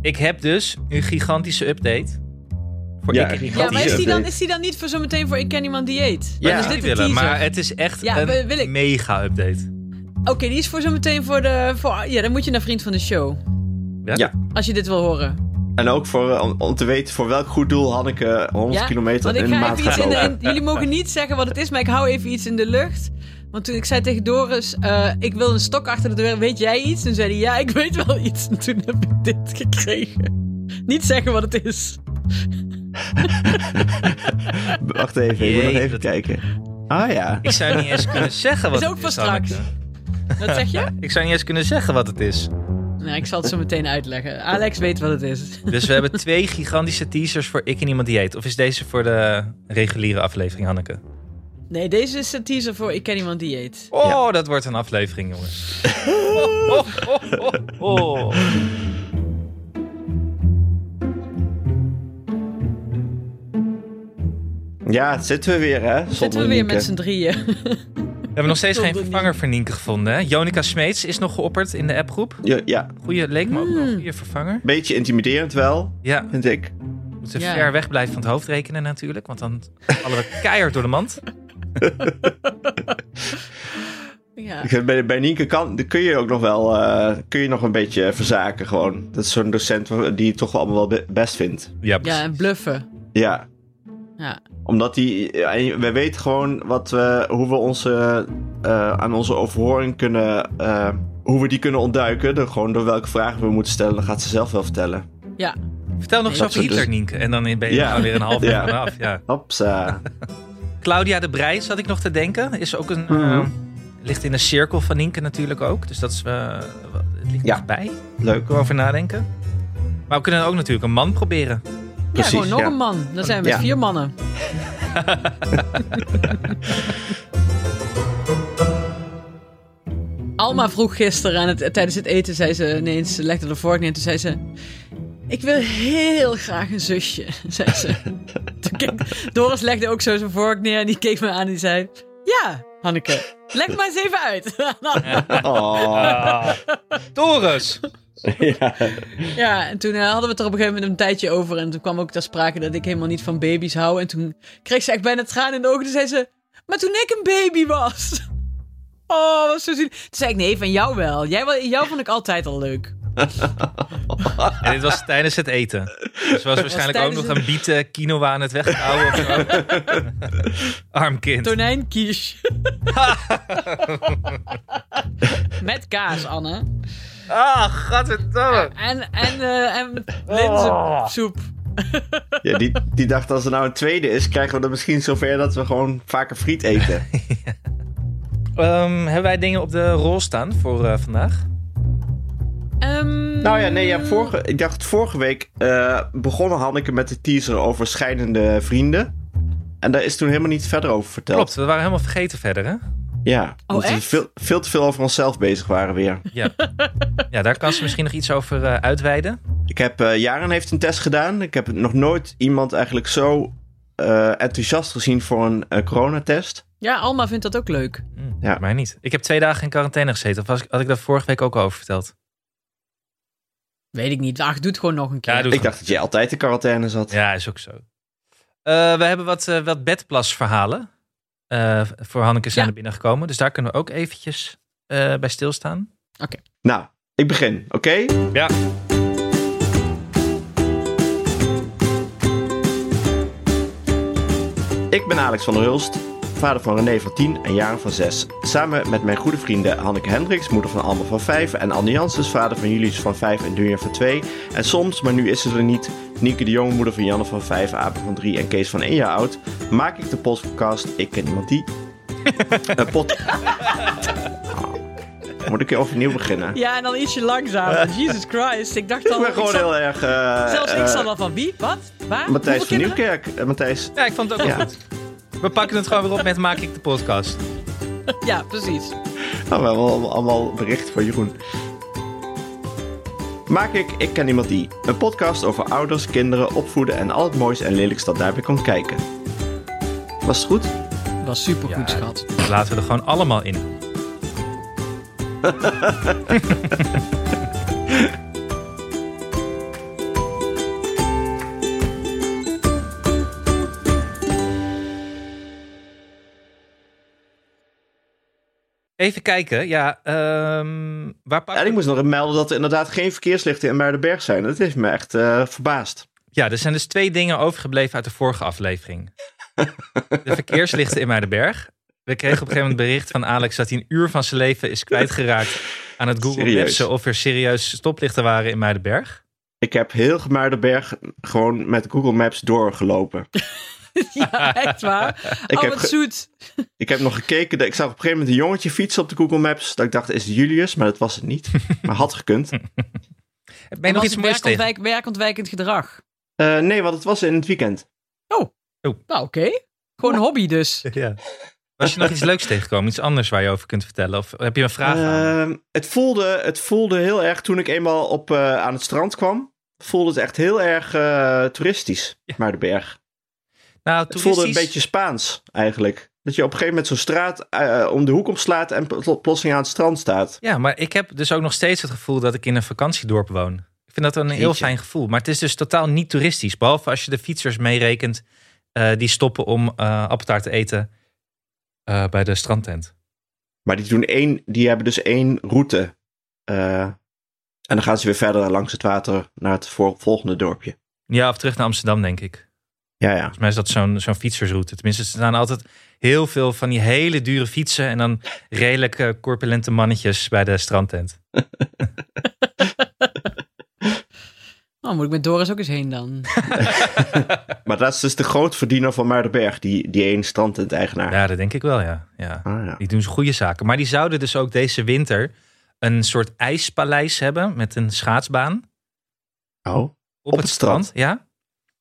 Ik heb dus een gigantische update. Voor Ja, ik, een Ja, maar is die, update. dan, is die dan niet voor zometeen voor ik ken iemand dieet? Ja, Dan is die dit de dus willen, teaser. maar het is echt Ja, wil- een wil ik. mega update. Oké, die is voor zometeen voor de... Voor, ja, dan moet je naar vriend van de show. Ja. Als je dit wil horen. En ook voor, eh, om, om te weten voor welk goed doel Hanneke 100 Ja? kilometer Want ik in de ga maand even iets in de... lopen. in- jullie mogen niet zeggen wat het is, maar ik hou even iets in de lucht. Want toen ik zei tegen Doris, eh, ik wil een stok achter de deur, weet jij iets? Toen zei hij, ja, ik weet wel iets. En toen heb ik dit gekregen. Niet zeggen wat het is. Wacht even, ik moet nog Jee, even dat- kijken. Ah ja. Ik zou niet eens kunnen zeggen wat Is ook het voor is. straks. Hanneke. Wat zeg je? Ik zou niet eens kunnen zeggen wat het is. Nou, ik zal het zo meteen uitleggen. Alex weet wat het is. Dus we hebben twee gigantische teasers voor Ik en Iemand Dieet. Of is deze voor de reguliere aflevering, Hanneke? Nee, deze is de teaser voor Ik Ken Iemand Dieet. Oh, Ja. dat wordt een aflevering, jongens. Oh, oh, oh, oh, oh. Ja, zitten we weer hè? Zonder Zitten we weer Nienke. met z'n drieën. We hebben nog steeds geen Tot de vervanger voor Nienke gevonden. Hè? Jonica Smeets is nog geopperd in de appgroep. Ja, ja, Goeie, leek me ook wel Hmm. een goede vervanger. beetje intimiderend wel, Ja, vind ik. we moeten Ja. ver weg blijven van het hoofd rekenen natuurlijk. Want dan vallen we keihard door de mand. Ja. Ik vind bij, bij Nienke kan, dan kun je ook nog wel eh, kun je nog een beetje verzaken gewoon. Dat is zo'n docent waar- die je toch wel allemaal wel be- best vindt. Ja, precies. ja, en bluffen. Ja, Ja. omdat die... ja, en we weten gewoon wat we, hoe we onze, eh, aan onze overhoring kunnen... eh, hoe we die kunnen ontduiken. Door, gewoon door welke vragen we moeten stellen. Dat gaat ze zelf wel vertellen. ja. Vertel nog Nee, eens dat over soort dus- Hitler, Nienke. En dan ben je Ja. er weer een half jaar Ja. vanaf. Ja. Hopsa. Claudia de Brij zat ik nog te denken. Is ook een, Mhm. eh, ligt in de cirkel van Nienke natuurlijk ook. Dus dat is, eh, wel- het ligt Ja. dichtbij. Leuk. Kunnen we over nadenken. Maar we kunnen ook natuurlijk een man proberen. ja, Precies, gewoon nog ja. een man. Dan zijn we met Ja. vier mannen. Alma vroeg gisteren aan het, tijdens het eten, zei ze ineens, ze legde de vork neer, toen zei ze... Ik wil heel graag een zusje, zei ze. Toen keek- Doris legde ook zo zijn vork neer en die keek me aan en die zei... Ja, Hanneke, leg maar eens even uit. Oh. Ah. Doris! ja. Ja, en toen eh, hadden we het er op een gegeven moment een tijdje over. En toen kwam ook ter sprake dat ik helemaal niet van baby's hou. En toen kreeg ze echt bijna tranen in de ogen. Toen zei ze, maar toen ik een baby was. Oh, was zo zin. Toen zei ik, nee, van jou wel. Jij, wel- jou vond ik altijd al leuk. En dit was tijdens het eten. Dus ze was waarschijnlijk ook tijdens nog het- een bieten quinoa aan het weghouwen. of zo. Arm kind. Tonijnkies. Met kaas, Anne. Ah, gadverdamme. En, en, eh en linzensoep. Ja, die, die dacht als er nou een tweede is, krijgen we dat misschien zover dat we gewoon vaker friet eten. Ehm, hebben wij dingen op de rol staan voor eh, vandaag? Ehm, nou ja, nee, ja, vorige, ik dacht vorige week eh begonnen Hanneke met de teaser over scheidende vrienden. En daar is toen helemaal niet verder over verteld. Klopt, we waren helemaal vergeten verder, hè? Ja, omdat we echt? veel, veel te veel over onszelf bezig waren weer. Ja, ja daar kan ze misschien nog iets over eh, uitweiden. Ik heb, eh Jaren heeft een test gedaan. Ik heb nog nooit iemand eigenlijk zo eh, enthousiast gezien voor een eh, coronatest. Ja, Alma vindt dat ook leuk. Hm, Ja. Maar niet. Ik heb twee dagen in quarantaine gezeten. Of was, ik- had ik dat vorige week ook al over verteld? Weet ik niet. Ach, doe het gewoon nog een keer. Ja, doe Ik dacht dat jij altijd in quarantaine zat. Ja, is ook zo. Eh, we hebben wat, eh, wat bedplasverhalen. eh, voor Hanneke zijn Ja. er binnengekomen. Dus daar kunnen we ook eventjes eh, bij stilstaan. Nou, ik begin, oké? Ja. Ik ben Alex van der Hulst, vader van René van 10 en Jaren van 6. Samen met mijn goede vrienden Hanneke Hendricks, moeder van Alma van 5 en Anne Janssens, vader van Julius van 5 en Dunja van 2. En soms, maar nu is ze er niet, Nienke de Jong, moeder van Janne van 5, Abe van 3 en Kees van 1 jaar oud, maak ik de podcast Ik Ken Iemand Die. Een pot. Moet ik weer overnieuw beginnen? Ja, en dan ietsje langzamer. Jesus Christ. Ik dacht al... Ik ben gewoon zat- heel erg. eh, Zelfs ik eh, zat al van wie? Wat? Waar? Matthijs van Hoeveel kinderen? Nieuwkerk. Eh, Matthijs. Ja, ik vond het ook wel Ja. goed. We pakken het gewoon weer op met Maak ik de podcast. Ja, precies. Oh, we hebben allemaal- allemaal berichten van Jeroen. Maak ik Ik Ken Iemand Die. Een podcast over ouders, kinderen, opvoeden en al het moois en lelijks dat daarbij komt kijken. Was het goed? Was supergoed, Ja. schat. Dus laten we er gewoon allemaal in. Even kijken, ja. ehm, waar pak En ik moest nog even melden dat er inderdaad geen verkeerslichten in Muidenberg zijn. Dat heeft me echt eh, verbaasd. Ja, er zijn dus twee dingen overgebleven uit de vorige aflevering. De verkeerslichten in Muidenberg. We kregen op een gegeven moment bericht van Alex dat hij een uur van zijn leven is kwijtgeraakt aan het Google Serieus? Mapsen of er serieus stoplichten waren in Muidenberg. Ik heb heel Muidenberg gewoon met Google Maps doorgelopen. ja, echt waar. Ik oh, heb wat ge- zoet. Ik heb nog gekeken. dat- Ik zag op een gegeven moment een jongetje fietsen op de Google Maps. Dat ik dacht, is het Julius? Maar dat was het niet. Maar had gekund. Heb je nog iets moois tegen? werkontwijk, Werkontwijkend gedrag. Eh, nee, want het was in het weekend. Nou, oké. Gewoon Oh. een hobby dus. Ja. Was je nog iets leuks tegengekomen? Iets anders waar je over kunt vertellen? Of heb je een vraag aan? Ehm, het, voelde, het voelde heel erg, toen ik eenmaal op, eh, aan het strand kwam, voelde het echt heel erg eh, toeristisch, Ja. Muidenberg. Nou, Het voelde een toeristisch- beetje Spaans, eigenlijk. Dat je op een gegeven moment zo'n straat eh, om de hoek omslaat en pl- plotseling aan het strand staat. Ja, maar ik heb dus ook nog steeds het gevoel dat ik in een vakantiedorp woon. Ik vind dat een heel Jeetje. fijn gevoel. Maar het is dus totaal niet toeristisch. Behalve als je de fietsers meerekent eh, die stoppen om eh appeltaart te eten eh, bij de strandtent. Maar die, doen één, die hebben dus één route. eh, en dan gaan ze weer verder langs het water naar het vol- volgende dorpje. Ja, of terug naar Amsterdam, denk ik. Ja, ja. Volgens mij is dat zo'n zo'n fietsersroute. Tenminste, er staan altijd heel veel van die hele dure fietsen... en dan redelijk eh, corpulente mannetjes bij de strandtent. Nou, moet ik met Doris ook eens heen dan. Maar dat is dus de grootverdiener van Muidenberg, die, die één strandtent-eigenaar. Ja, dat denk ik wel, ja. ja. Ah, ja. Die doen ze goede zaken. Maar die zouden dus ook deze winter een soort ijspaleis hebben met een schaatsbaan. Op, Oh. Op het strand? Ja,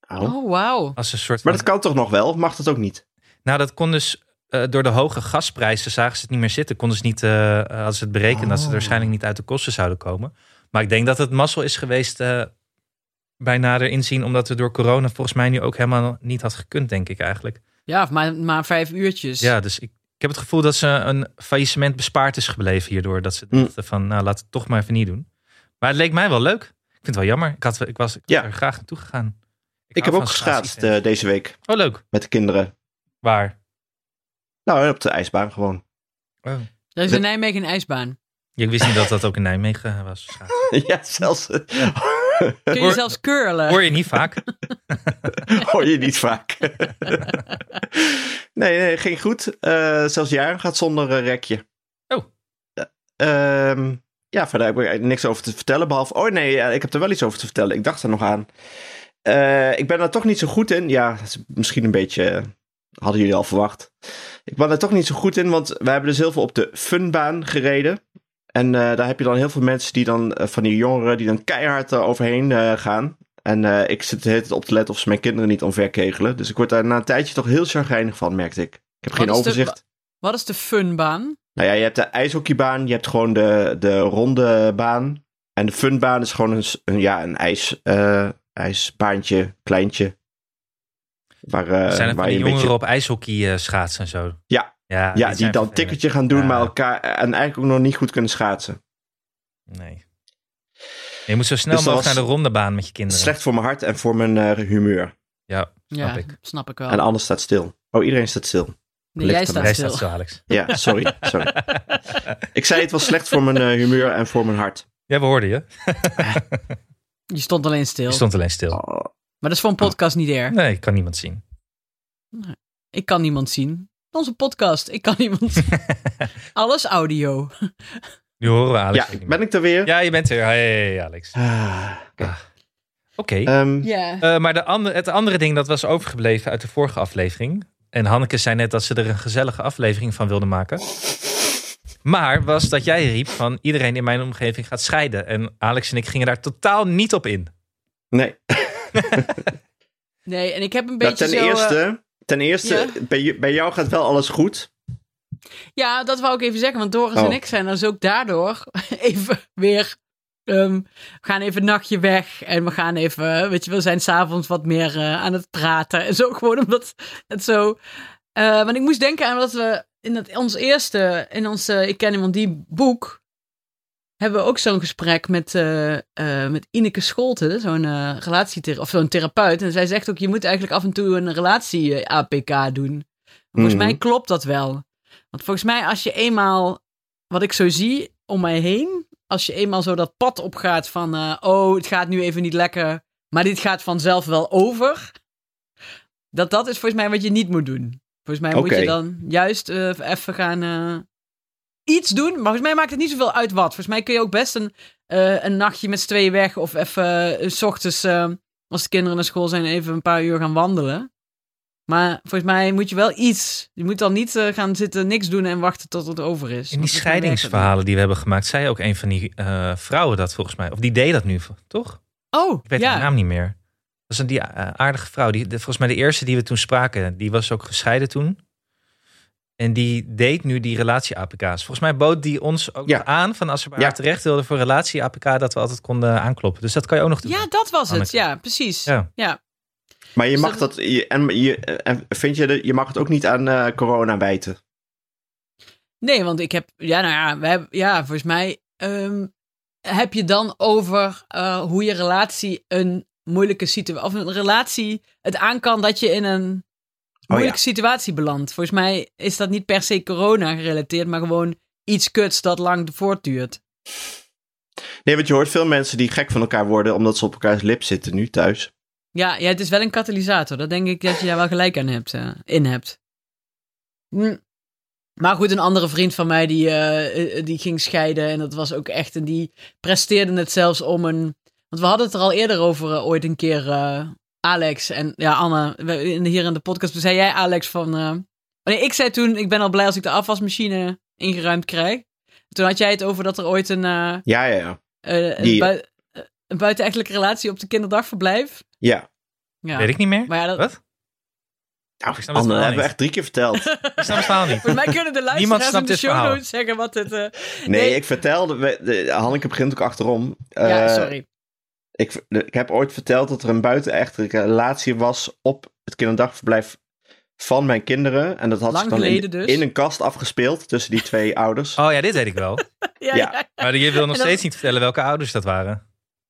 Oh. Oh, wauw. als een soort. Maar dat kan toch nog wel? Of mag dat ook niet? Nou, dat kon dus eh, door de hoge gasprijzen zagen ze het niet meer zitten. Konden ze niet, eh, eh, hadden ze het berekend dat ze er Oh. waarschijnlijk niet uit de kosten zouden komen. Maar ik denk dat het mazzel is geweest eh, bij nader inzien, omdat het door corona volgens mij nu ook helemaal niet had gekund, denk ik eigenlijk. Ja, of maar, maar vijf uurtjes. Ja, dus ik, ik heb het gevoel dat ze een faillissement bespaard is gebleven hierdoor. Dat ze Mm. dachten van, nou, laat het toch maar even niet doen. Maar het leek mij wel leuk. Ik vind het wel jammer. Ik, had, ik was ik was Ja. er graag naartoe gegaan. Ik, heb hou ook van geschaatst schaatsen. eh, deze week oh, leuk. met de kinderen. Waar? Nou, op de ijsbaan gewoon. Oh. Er is De- in Nijmegen een ijsbaan. Ja, ik wist niet dat dat ook in Nijmegen was. Schaatsen. ja, zelfs. eh, Kun je Hoor- zelfs curlen. Hoor je niet vaak. Hoor je niet vaak. nee, nee, ging goed. Eh, zelfs Jaren gaat zonder eh, rekje. Oh. Ja, ehm, ja, verder heb ik er niks over te vertellen. Behalve, oh nee, ja, ik heb er wel iets over te vertellen. Ik dacht er nog aan. Eh, ik ben daar toch niet zo goed in. Ja, dat is misschien een beetje. eh, Hadden jullie al verwacht. Ik ben daar toch niet zo goed in, want we hebben dus heel veel op de funbaan gereden. En eh, daar heb je dan heel veel mensen die dan, eh, van die jongeren, die dan keihard er overheen eh, gaan. En eh, ik zit de hele tijd op te letten of ze mijn kinderen niet omverkegelen. Dus ik word daar na een tijdje toch heel chagrijnig van, merkte ik. Ik heb geen Wat is de- overzicht. Wat is de funbaan? Nou ja, je hebt de ijshockeybaan, je hebt gewoon de, de ronde baan. En de funbaan is gewoon een, s- een- ja, een ijs, eh, ijsbaantje, kleintje. Waar, eh, Zijn het van waar die je een jongeren beetje... op ijshockey eh, schaatsen en zo? Ja. Ja, ja, die zijn dan vervelend. tikketje gaan doen, Ja. maar elkaar... En eigenlijk ook nog niet goed kunnen schaatsen. Nee. Je moet zo snel Dus dat mogelijk was naar de rondebaan met je kinderen. Slecht voor mijn hart en voor mijn eh, humeur. Ja, Ja, snap ik. snap ik wel. En alles staat stil. Oh, iedereen staat stil. Nee, jij ligt aan staat Jij stil. staat zo, Alex. Ja, sorry. sorry. Ik zei het was slecht voor mijn eh, humeur en voor mijn hart. Ja, we hoorden je. Je stond alleen stil. Je stond alleen stil. Oh, Maar dat is voor een podcast niet erg. Nee, ik kan niemand zien. Ik kan niemand zien. Onze podcast. Ik kan niemand zien. Alles audio. Nu horen we Alex. ja, ook niet ben meer. ik er weer? Ja, je bent er. Hey, Alex. Ah, oké. Oké. Ehm, Ja. Eh, maar de ander, het andere ding dat was overgebleven uit de vorige aflevering. En Hanneke zei net dat ze er een gezellige aflevering van wilde maken. Maar was dat jij riep van iedereen in mijn omgeving gaat scheiden. En Alex en ik gingen daar totaal niet op in. nee, Nee, en ik heb een Nou, beetje ten, zo... eh, eerste, ten eerste, ja. bij, ju- bij jou gaat wel alles goed. Ja, dat wou ik even zeggen, want Doris Oh. en ik zijn dus ook daardoor even weer. ehm, we gaan even een nachtje weg en we gaan even, weet je, we zijn s'avonds wat meer eh, aan het praten. En zo gewoon omdat het zo. eh want ik moest denken aan dat we in dat, ons eerste, in ons eh, Ik ken iemand die boek, hebben we ook zo'n gesprek met, eh, eh, met Ineke Scholte, zo'n eh relatiethera- of zo'n therapeut. En zij zegt ook, je moet eigenlijk af en toe een eh, relatie-APK doen. Volgens Mhm. mij klopt dat wel. Want volgens mij, als je eenmaal wat ik zo zie om mij heen, als je eenmaal zo dat pad opgaat van, eh, oh, het gaat nu even niet lekker, maar dit gaat vanzelf wel over. Dat dat is volgens mij wat je niet moet doen. Volgens mij moet Oké. je dan juist eh, even gaan eh, iets doen. Maar volgens mij maakt het niet zoveel uit wat. Volgens mij kun je ook best een, eh, een nachtje met z'n tweeën weg of even eh, s ochtends, eh, als de kinderen naar school zijn, even een paar uur gaan wandelen. Maar volgens mij moet je wel iets. Je moet dan niet eh, gaan zitten, niks doen en wachten tot het over is. In die Want volgens mij werkt dat scheidingsverhalen die we hebben gemaakt, zei ook een van die eh, vrouwen dat volgens mij. Of die deed dat nu, toch? niet. Oh, Ik weet ja. haar naam niet meer. Dat was een die, eh, aardige vrouw. Die, de- volgens mij de eerste die we toen spraken. Die was ook gescheiden toen. En die deed nu die relatie-APK's. Volgens mij bood die ons ook Ja. nog aan van als we bij Ja. haar terecht wilden voor relatie-APK, dat we altijd konden aankloppen. Dus dat kan je ook nog doen. Ja, dat was het. Anneke. Ja, precies. Ja. Ja. Maar je Dus mag dat- dat. je- en je, en vind je, dat- je mag het ook niet aan eh, corona wijten. Nee, want ik heb. Ja, nou ja, we hebben, ja volgens mij. ehm, heb je dan over eh, hoe je relatie een moeilijke situatie. Of een relatie het aan kan dat je in een moeilijke situatie belandt. Volgens mij is dat niet per se corona gerelateerd, maar gewoon iets kuts dat lang voortduurt. Nee, want je hoort veel mensen die gek van elkaar worden omdat ze op elkaars lip zitten nu thuis. Ja, ja, het is wel een katalysator. Dat denk ik dat je daar wel gelijk aan hebt, eh, in hebt. Hm. Maar goed, een andere vriend van mij die, eh, eh, die ging scheiden. En dat was ook echt. En die presteerde het zelfs om een. Want we hadden het er al eerder over eh, ooit een keer. eh, Alex en ja, Anne. we- in- hier in de podcast toen zei jij, Alex, van. eh, nee, ik zei toen: Ik ben al blij als ik de afwasmachine ingeruimd krijg. Toen had jij het over dat er ooit een, eh, Ja, ja, ja. eh, een, Die- bui- eh, een buitenechtelijke relatie op de kinderdagverblijf. Ja. Ja. Weet ik niet meer. Maar ja, dat, Wat? Nou, Ik snap het Anne, wel dat hebben we niet. echt drie keer verteld. Ik snap het verhaal niet. Volgens mij kunnen de luisteraars in snapt de dit show verhaal. notes zeggen wat het... eh, Nee, Nee. ik vertelde. we- de- Hanneke begint ook achterom. ja, Eh, sorry. Ik, de- ik heb ooit verteld dat er een buitenechtelijke relatie was op het kinderdagverblijf van mijn kinderen. En dat had Lang zich dan in, geleden dus. in een kast afgespeeld tussen die twee ouders. Oh ja, dit weet ik wel. Ja, ja. ja. Maar je wil nog En dat- steeds niet vertellen welke ouders dat waren.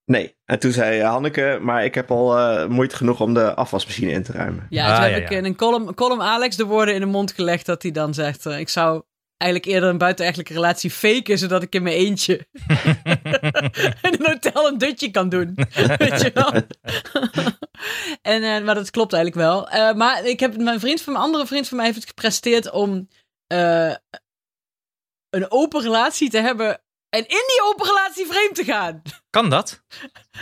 Nee. En toen zei eh, Hanneke, maar ik heb al eh, moeite genoeg om de afwasmachine in te ruimen. Ja, Ah, toen heb ja, ik ja. in een column, column Alex de woorden in de mond gelegd dat hij dan zegt... eh, ik zou eigenlijk eerder een buitenechtelijke relatie faken, zodat ik in mijn eentje in een hotel een dutje kan doen. Weet je wel? en, eh, maar dat klopt eigenlijk wel. Eh, maar ik heb, mijn vriend van, mijn andere vriend van mij heeft het gepresteerd om eh, een open relatie te hebben... En in die open relatie vreemd te gaan. Kan dat?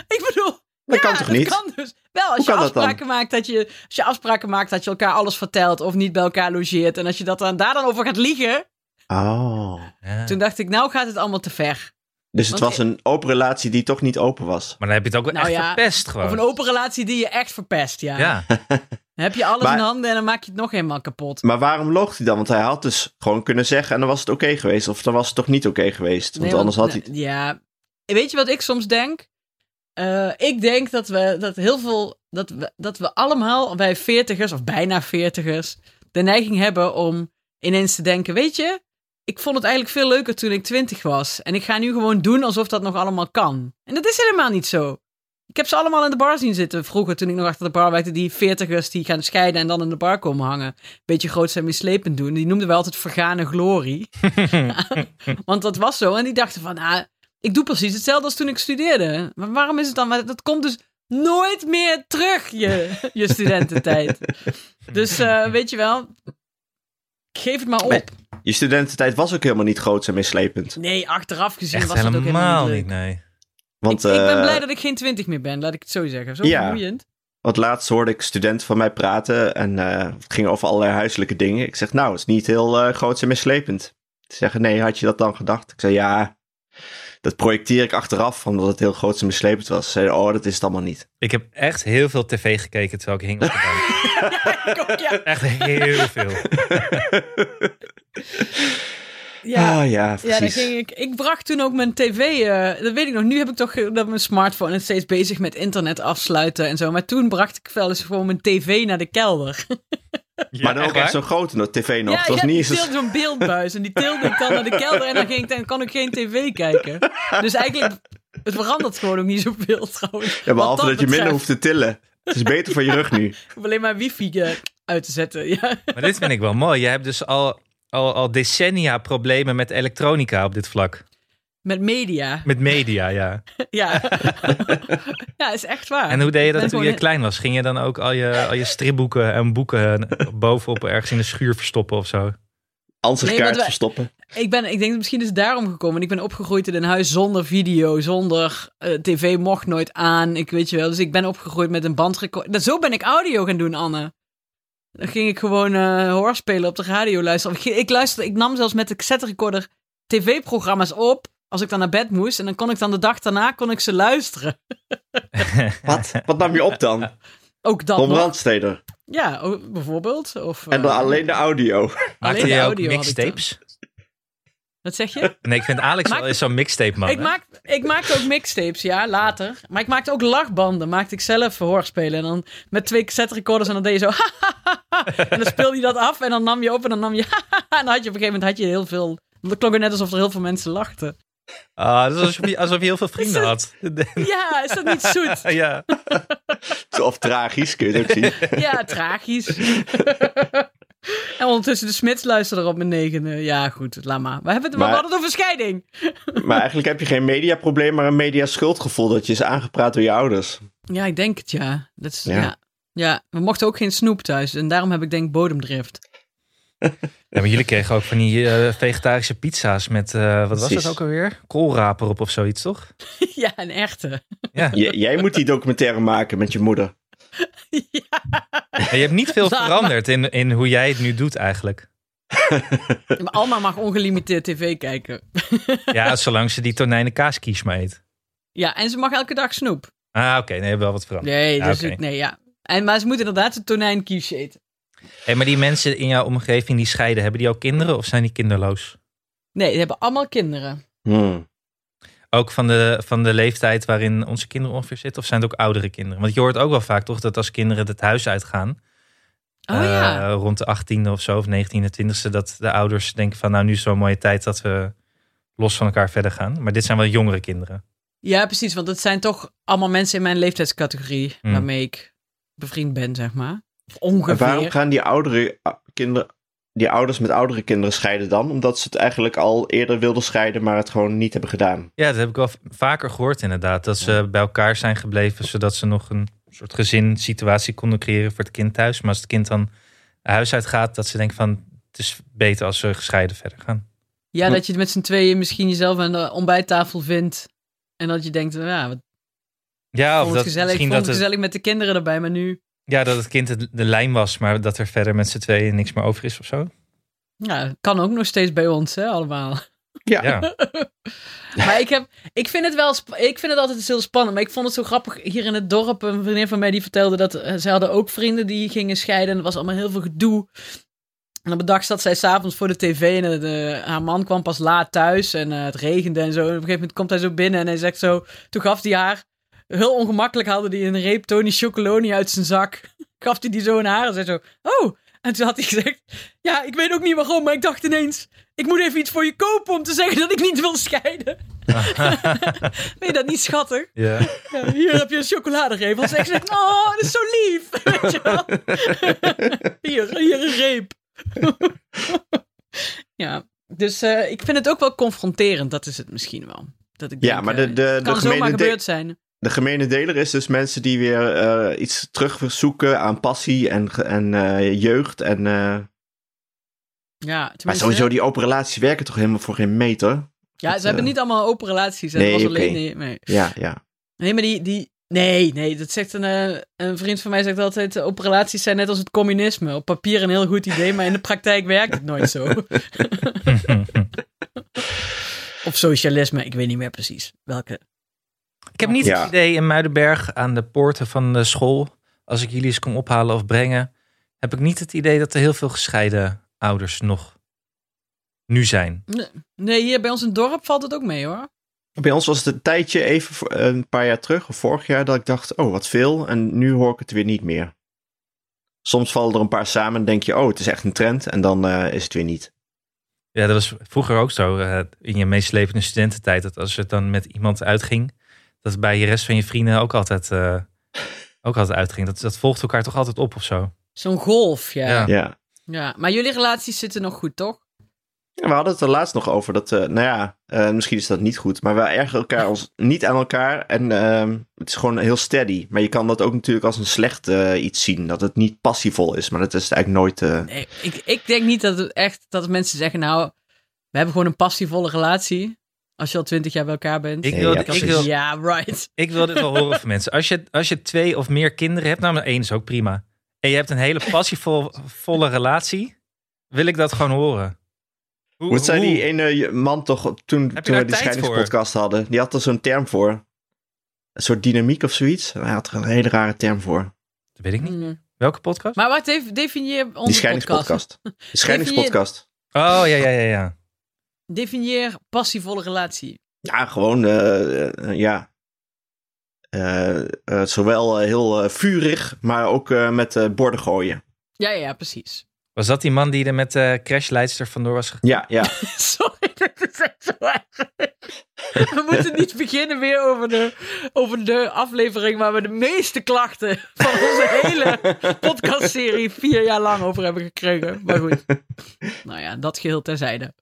Ik bedoel, Dat kan toch niet? Dat kan dus. Wel, als Hoe je, kan dat dan? afspraken maakt dat je, als je afspraken maakt dat je elkaar alles vertelt of niet bij elkaar logeert. En als je dat dan, daar dan over gaat liegen. Oh. Ja. Toen dacht ik, nou gaat het allemaal te ver. Dus het Want was een open relatie die toch niet open was. Maar dan heb je het ook wel Nou echt ja, verpest gewoon. Of een open relatie die je echt verpest, ja. Ja. Dan heb je alles Maar- in handen en dan maak je het nog helemaal kapot. Maar waarom loog hij dan? Want hij had dus gewoon kunnen zeggen en dan was het oké geweest. Of dan was het toch niet oké geweest. Want Nee, anders had hij... nee, Ja, weet je wat ik soms denk? Eh, ik denk dat we dat heel veel dat we, dat we allemaal bij veertigers of bijna veertigers de neiging hebben om ineens te denken, weet je, ik vond het eigenlijk veel leuker toen ik twintig was en ik ga nu gewoon doen alsof dat nog allemaal kan. En dat is helemaal niet zo. Ik heb ze allemaal in de bar zien zitten vroeger toen ik nog achter de bar werkte. Die veertigers die gaan scheiden en dan in de bar komen hangen. Beetje groot zijn mislepend doen. Die noemden we altijd vergane glorie. Want dat was zo. En die dachten van, ah, ik doe precies hetzelfde als toen ik studeerde. Maar waarom is het dan? maar Dat komt dus nooit meer terug, je, je studententijd. Dus eh, weet je wel, geef het maar op. Je studententijd was ook helemaal niet groot en mislepend. Nee, achteraf gezien Echt was het ook helemaal helemaal leuk. niet, nee. Want, ik, ik ben eh, blij dat ik geen twintig meer ben, laat ik het zo zeggen. Zo Ja. vermoeiend. Want laatst hoorde ik studenten van mij praten en eh, het ging over allerlei huiselijke dingen. Ik zeg, nou, het is niet heel eh groots en mislepend. Ze zeggen, nee, had je dat dan gedacht? Ik zei, ja, dat projecteer ik achteraf, omdat het heel groots en mislepend was. Ze zeiden, oh, dat is het allemaal niet. Ik heb echt heel veel tv gekeken terwijl ik hing op de bank. Ik ook, ja. Echt heel veel. ja. Ah, ja, Ja, dan precies. ging ik. Ik bracht toen ook mijn tv. eh, dat weet ik nog. Nu heb ik toch eh, dat mijn smartphone en steeds bezig met internet afsluiten en zo. Maar toen bracht ik wel eens gewoon mijn tv naar de kelder. Maar dan ook echt zo'n zo. grote no- tv nog. ja, Het was ja, niet die eens een- tilde zo'n beeldbuis en die tilde ik dan naar de kelder en dan ging ik dan kan ik geen tv kijken. Dus eigenlijk het verandert gewoon ook niet zoveel trouwens. Ja, Wat behalve dat je minder betreft, hoeft te tillen. Het is beter voor je rug nu. Ik hoef alleen maar wifi eh, uit te zetten. Ja. Maar dit vind ik wel mooi. Jij hebt dus al al, al decennia problemen met elektronica op dit vlak. Met media. Met media, ja. Ja. ja, is echt waar. En hoe deed je dat Ben toen gewoon- je klein was? Ging je dan ook al je, al je stripboeken en boeken bovenop ergens in de schuur verstoppen of zo? Ansichtkaart Nee, want wij- verstoppen. Ik, ben, ik denk dat misschien is het daarom gekomen. Ik ben opgegroeid in een huis zonder video, zonder eh, tv mocht nooit aan. Ik weet je wel. Dus ik ben opgegroeid met een bandrecorder. Dat- Zo ben ik audio gaan doen, Anne. Dan ging ik gewoon eh hoorspelen op de radio luisteren. Of Ik, ik, luisterde, ik nam zelfs met de cassette recorder tv-programma's op. Als ik dan naar bed moest. En dan kon ik dan de dag daarna kon ik ze luisteren. Wat? Wat nam je op dan? Ook dat Tom nog. Brandsteder. Ja, o- bijvoorbeeld. Of, En dan eh, alleen de audio. Maakte de je ook audio had ik mixtapes? Wat zeg je? Nee, ik vind Alex Maak- wel eens zo'n mixtape man. Ik, hè? maak, ik maakte ook mixtapes, ja, later. Maar ik maakte ook lachbanden. Maakte ik zelf hoorspelen. En dan met twee cassette recorders en dan deed je zo... en dan speelde je dat af en dan nam je op en dan nam je... en dan had je op een gegeven moment had je heel veel... Het klonk het net alsof er heel veel mensen lachten. Ah, dat is alsof je, alsof je heel veel vrienden had. Ja, is dat niet zoet? ja. Of tragisch, kun je het ook zien. Ja, tragisch. en ondertussen de Smits luisterde op mijn negende. Ja, goed, laat maar. We, hebben het, Maar- we hadden het over scheiding. Maar eigenlijk heb je geen mediaprobleem, maar een mediaschuldgevoel dat je is aangepraat door je ouders. Ja, ik denk het, ja. Dat is, Ja. ja. ja. We mochten ook geen snoep thuis. En daarom heb ik denk bodemdrift. Ja, maar jullie kregen ook van die eh, vegetarische pizza's met, eh, wat was Precies. dat ook alweer? Koolraper op of zoiets, toch? Ja, een echte. Ja. J- jij moet die documentaire maken met je moeder. En je hebt niet veel Laat maar. veranderd in, in hoe jij het nu doet eigenlijk. Ja, Maar Alma mag ongelimiteerd tv kijken. Ja, zolang ze die tonijnen kaaskies maar eet. Ja, en ze mag elke dag snoep. Ah, oké, nee, hebben we wel wat veranderd. Nee, Ja, dus oké. ik- nee, ja. En, maar ze moet inderdaad een tonijnkiesje eten. Hey, maar die mensen in jouw omgeving die scheiden, hebben die ook kinderen of zijn die kinderloos? Nee, ze hebben allemaal kinderen. Hmm. Ook van de, van de leeftijd waarin onze kinderen ongeveer zitten? Of zijn het ook oudere kinderen? Want je hoort ook wel vaak toch dat als kinderen het huis uitgaan, Oh ja. Eh, rond de 18e of zo, of 19e, 20e, dat de ouders denken van nou, nu is zo'n mooie tijd dat we los van elkaar verder gaan. Maar dit zijn wel jongere kinderen. Ja, precies. Want het zijn toch allemaal mensen in mijn leeftijdscategorie Hmm. waarmee ik bevriend ben, zeg maar. Of En waarom ongeveer. gaan die, oudere, a- kinderen, die ouders met oudere kinderen scheiden dan? Omdat ze het eigenlijk al eerder wilden scheiden, maar het gewoon niet hebben gedaan. Ja, dat heb ik wel v- vaker gehoord inderdaad. Dat ze bij elkaar zijn gebleven, zodat ze nog een soort gezinssituatie konden creëren voor het kind thuis. Maar als het kind dan huis uit gaat, dat ze denken van het is beter als ze gescheiden verder gaan. Ja, dat je het met z'n tweeën misschien jezelf aan de ontbijttafel vindt. En dat je denkt, nou ja, wat Ja, vond of het dat gezellig. Ik misschien vond dat het het, gezellig met de kinderen erbij, maar nu... ja, dat het kind het- de lijn was, maar dat er verder met z'n tweeën niks meer over is of zo. Ja, kan ook nog steeds bij ons, hè, allemaal. Ja, Ja, Maar ik, heb, ik, vind het wel, sp- ik vind het altijd heel spannend. Maar ik vond het zo grappig hier in het dorp. Een vriendin van mij die vertelde dat eh, ze hadden ook vrienden die gingen scheiden. En er was allemaal heel veel gedoe. En op een dag zat zij s'avonds voor de tv en eh, de- haar man kwam pas laat thuis en eh, het regende en zo. En op een gegeven moment komt hij zo binnen en hij zegt zo... Toen gaf hij haar, heel ongemakkelijk haalde hij een reep Tony Chocoloni uit zijn zak. Gaf hij die zo in haar en zei zo... Oh! En toen had hij gezegd... Ja, ik weet ook niet waarom, maar ik dacht ineens... Ik moet even iets voor je kopen om te zeggen dat ik niet wil scheiden. Vind je dat niet schattig? ja. Ja, hier heb je een chocoladereep. Als ik zeg, oh, dat is zo lief. Weet je wel? hier, hier een reep. ja, dus eh, ik vind het ook wel confronterend. Dat is het misschien wel. Dat ik Ja, denk, maar de- eh, de- het de kan zomaar gemene de- gebeurd zijn. De gemene deler is dus mensen die weer eh, iets terugzoeken aan passie en, ge- en eh, jeugd. En, eh, Ja, maar tenminste, sowieso, die open relaties werken toch helemaal voor geen meter? ja, dat, ze hebben eh, niet allemaal open relaties. hè. Dat nee, was alleen, oké. nee, nee. Ja, ja. Nee, maar die... die Nee, nee, dat zegt een, eh, een vriend van mij zegt altijd, eh, open relaties zijn net als het communisme. Op papier een heel goed idee, maar in de praktijk werkt het nooit zo. Of socialisme, ik weet niet meer precies welke. Ik heb niet Ja. het idee in Muidenberg aan de poorten van de school, als ik jullie eens kom ophalen of brengen, heb ik niet het idee dat er heel veel gescheiden ouders nog nu zijn. Nee, hier bij ons in het dorp valt het ook mee hoor. Bij ons was het een tijdje even, voor- een paar jaar terug, of vorig jaar, dat ik dacht, oh, wat veel. En nu hoor ik het weer niet meer. Soms vallen er een paar samen en denk je, oh, het is echt een trend. En dan eh, is het weer niet. Ja, dat was vroeger ook zo eh, in je meeslepende studententijd, dat als het dan met iemand uitging, dat het bij je rest van je vrienden ook altijd, eh, ook altijd uitging. Dat, dat volgt elkaar toch altijd op of zo. Zo'n golf, ja. Ja. ja. Ja. Maar jullie relaties zitten nog goed, toch? Ja, we hadden het er laatst nog over dat, eh, nou ja, eh, misschien is dat niet goed, maar we ergen elkaar ons niet aan elkaar en ehm, het is gewoon heel steady. Maar je kan dat ook natuurlijk als een slecht eh, iets zien, dat het niet passievol is, maar dat is het eigenlijk nooit. eh, Nee, ik, ik denk niet dat het echt dat mensen zeggen, nou, we hebben gewoon een passievolle relatie. Als je al twintig jaar bij elkaar bent. Ik Nee, wil, ja, ik, precies. wil, Ja, right. ik wil dit wel horen van mensen. Als je, als je twee of meer kinderen hebt, namelijk één is ook prima. En je hebt een hele passievolle relatie, wil ik dat gewoon horen. Hoe, Wat zei hoe- die ene man toch op- toen, Heb je toen daar we die tijd scheidingspodcast hadden? Die had er zo'n term voor. Een soort dynamiek of zoiets. Hij had er een hele rare term voor. Dat weet ik niet. Mm. Welke podcast? Maar wat def- definieer Die onze podcast? scheidingspodcast. De scheidingspodcast. Oh, ja, ja, ja, ja. Definieer passievolle relatie. Ja, gewoon, eh, eh, eh, ja. Eh, eh, zowel eh, heel eh, vurig, maar ook eh, met eh, borden gooien. Ja, ja, ja, precies. Was dat die man die er met de crashleidster vandoor was gegaan? Ja, ja. Sorry, dat is echt zo erg. We moeten niet beginnen weer over de, over de aflevering waar we de meeste klachten van onze hele podcastserie vier jaar lang over hebben gekregen. Maar goed. Nou ja, dat geheel terzijde.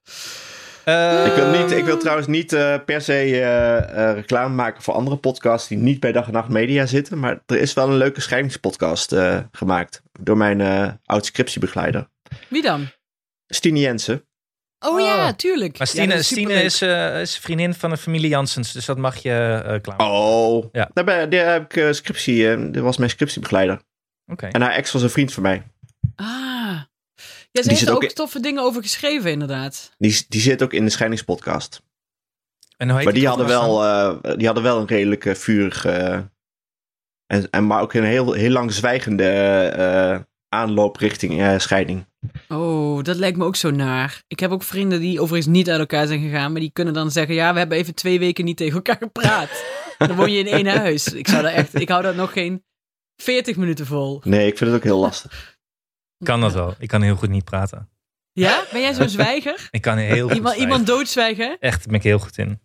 Eh, ik, wil niet, ik wil trouwens niet eh, per se eh, eh, reclame maken voor andere podcasts die niet bij Dag en Nacht Media zitten. Maar er is wel een leuke scheidingspodcast eh, gemaakt door mijn eh oud-scriptiebegeleider. Wie dan? Stine Jensen. Oh, Oh. ja, tuurlijk. Maar Ja, Stine, dat is, Stine superleuk. is, eh, is vriendin van een familie Janssens, dus dat mag je eh klaar. Oh, Ja. daar, ben, daar heb ik eh, scriptie. eh, dat was mijn scriptiebegeleider. Oké. Oh. En haar ex was een vriend van mij. Ah. Ja, ze zit heeft er ook ook in- toffe dingen over geschreven, inderdaad. Die, die zit ook in de scheidingspodcast. En hoe heet Maar die hadden, podcast dan? wel, eh, die hadden wel een redelijk eh, vurig. eh, en, en, maar ook een heel, heel lang zwijgende eh, eh, aanloop richting eh, scheiding. Oh, dat lijkt me ook zo naar. Ik heb ook vrienden die overigens niet uit elkaar zijn gegaan, maar die kunnen dan zeggen: ja, we hebben even twee weken niet tegen elkaar gepraat. dan woon je in één huis. Ik zou daar echt, ik hou dat nog geen 40 minuten vol. Nee, ik vind het ook heel lastig. Kan dat wel. Ik kan heel goed niet praten. Ja? Ben jij zo'n zwijger? Ik kan heel goed Iemand, zwijgen. iemand doodzwijgen? Echt, daar ben ik heel goed in.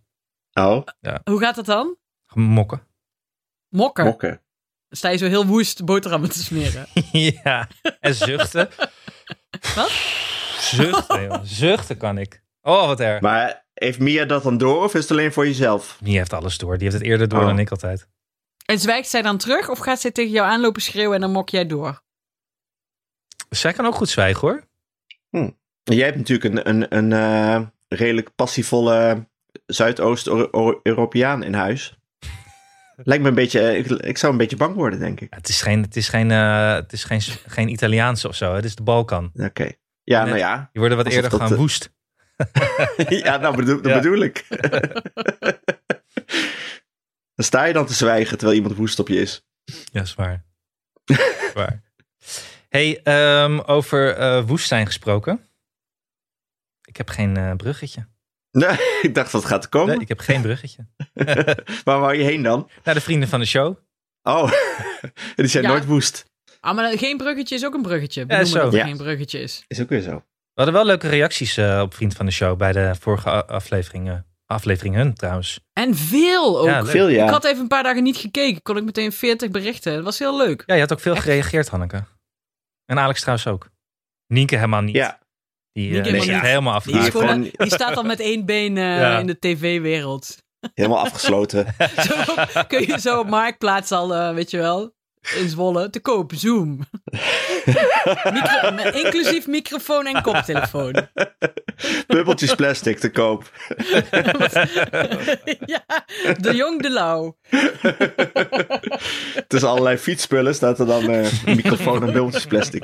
Oh, Hoe gaat dat dan? Mokken. Mokker. mokken. Sta je zo heel woest boterhammen te smeren? ja. En zuchten. Wat? Zuchten, joh. Zuchten kan ik. Oh, wat erg. Maar heeft Mia dat dan door of is het alleen voor jezelf? Die heeft alles door. Die heeft het eerder door Oh. dan ik altijd. En zwijgt zij dan terug of gaat zij tegen jou aanlopen schreeuwen en dan mok jij door? Zij kan ook goed zwijgen, hoor. Jij hebt natuurlijk een, een, een eh, redelijk passievolle Zuidoost-Europeaan in huis. Lijkt me een beetje. eh, Ik, ik zou een beetje bang worden, denk ik. Ja, Het is geen, het is geen, eh, het is geen, geen Italiaans of zo. Het is de Balkan. Oké. Ja, Net- nou ja. Die worden wat Alsof eerder dat, gewoon eh, woest. ja, nou bedoel, dat Ja. bedoel ik. dan sta je dan te zwijgen terwijl iemand woest op je is. Ja, is waar. Is waar. Hey, ehm, over eh, woestijn gesproken. Ik heb geen eh, bruggetje. Nee, ik dacht dat gaat komen. Nee, ik heb geen bruggetje. Waar wou je heen dan? Naar de vrienden van de show. Oh, die zijn Ja. nooit woest. Ah, maar geen bruggetje is ook een bruggetje. Benoemen zo. dat er Ja. geen bruggetje is. Is ook weer zo. We hadden wel leuke reacties eh, op vriend van de show bij de vorige a- aflevering. eh, aflevering hun trouwens. En veel ook. Ja, leuk. Veel Ik ja. had even een paar dagen niet gekeken. Kon ik meteen 40 berichten. Dat was heel leuk. Ja, je had ook veel gereageerd, Hanneke. En Alex trouwens ook. Nienke helemaal niet. Ja, Die eh, Nienke is helemaal echt niet. helemaal Die, is Ja, afgehaakt. gewoon, gewoon- die staat al met één been eh, Ja. in de tv-wereld. helemaal afgesloten. Zo kun je zo op Marktplaats al, eh, weet je wel, in Zwolle, te koop, Zoom. Micro- met inclusief microfoon en koptelefoon. Bubbeltjes plastic te koop. ja, de jong de lauw. Tussen allerlei fietsspullen staat er dan eh, microfoon en bubbeltjes plastic.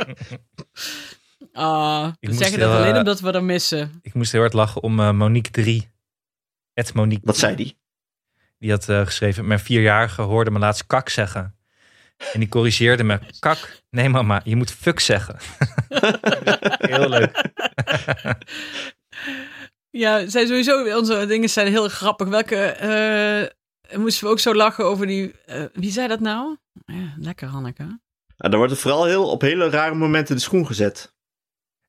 Ah, we moest zeggen heel, dat alleen eh, omdat we dat missen. Ik moest heel hard lachen om eh, Monique 3. Het Monique. Wat zei die? Die had eh, geschreven, mijn vierjarige hoorde me laatst kak zeggen. En die corrigeerde me, kak, nee mama, je moet fuck zeggen. Heel leuk. Ja, zijn sowieso, onze dingen zijn heel grappig. Welke, eh, moesten we ook zo lachen over die, eh, wie zei dat nou? Ja, lekker Hanneke. Nou, dan wordt er vooral heel, op hele rare momenten de schoen gezet.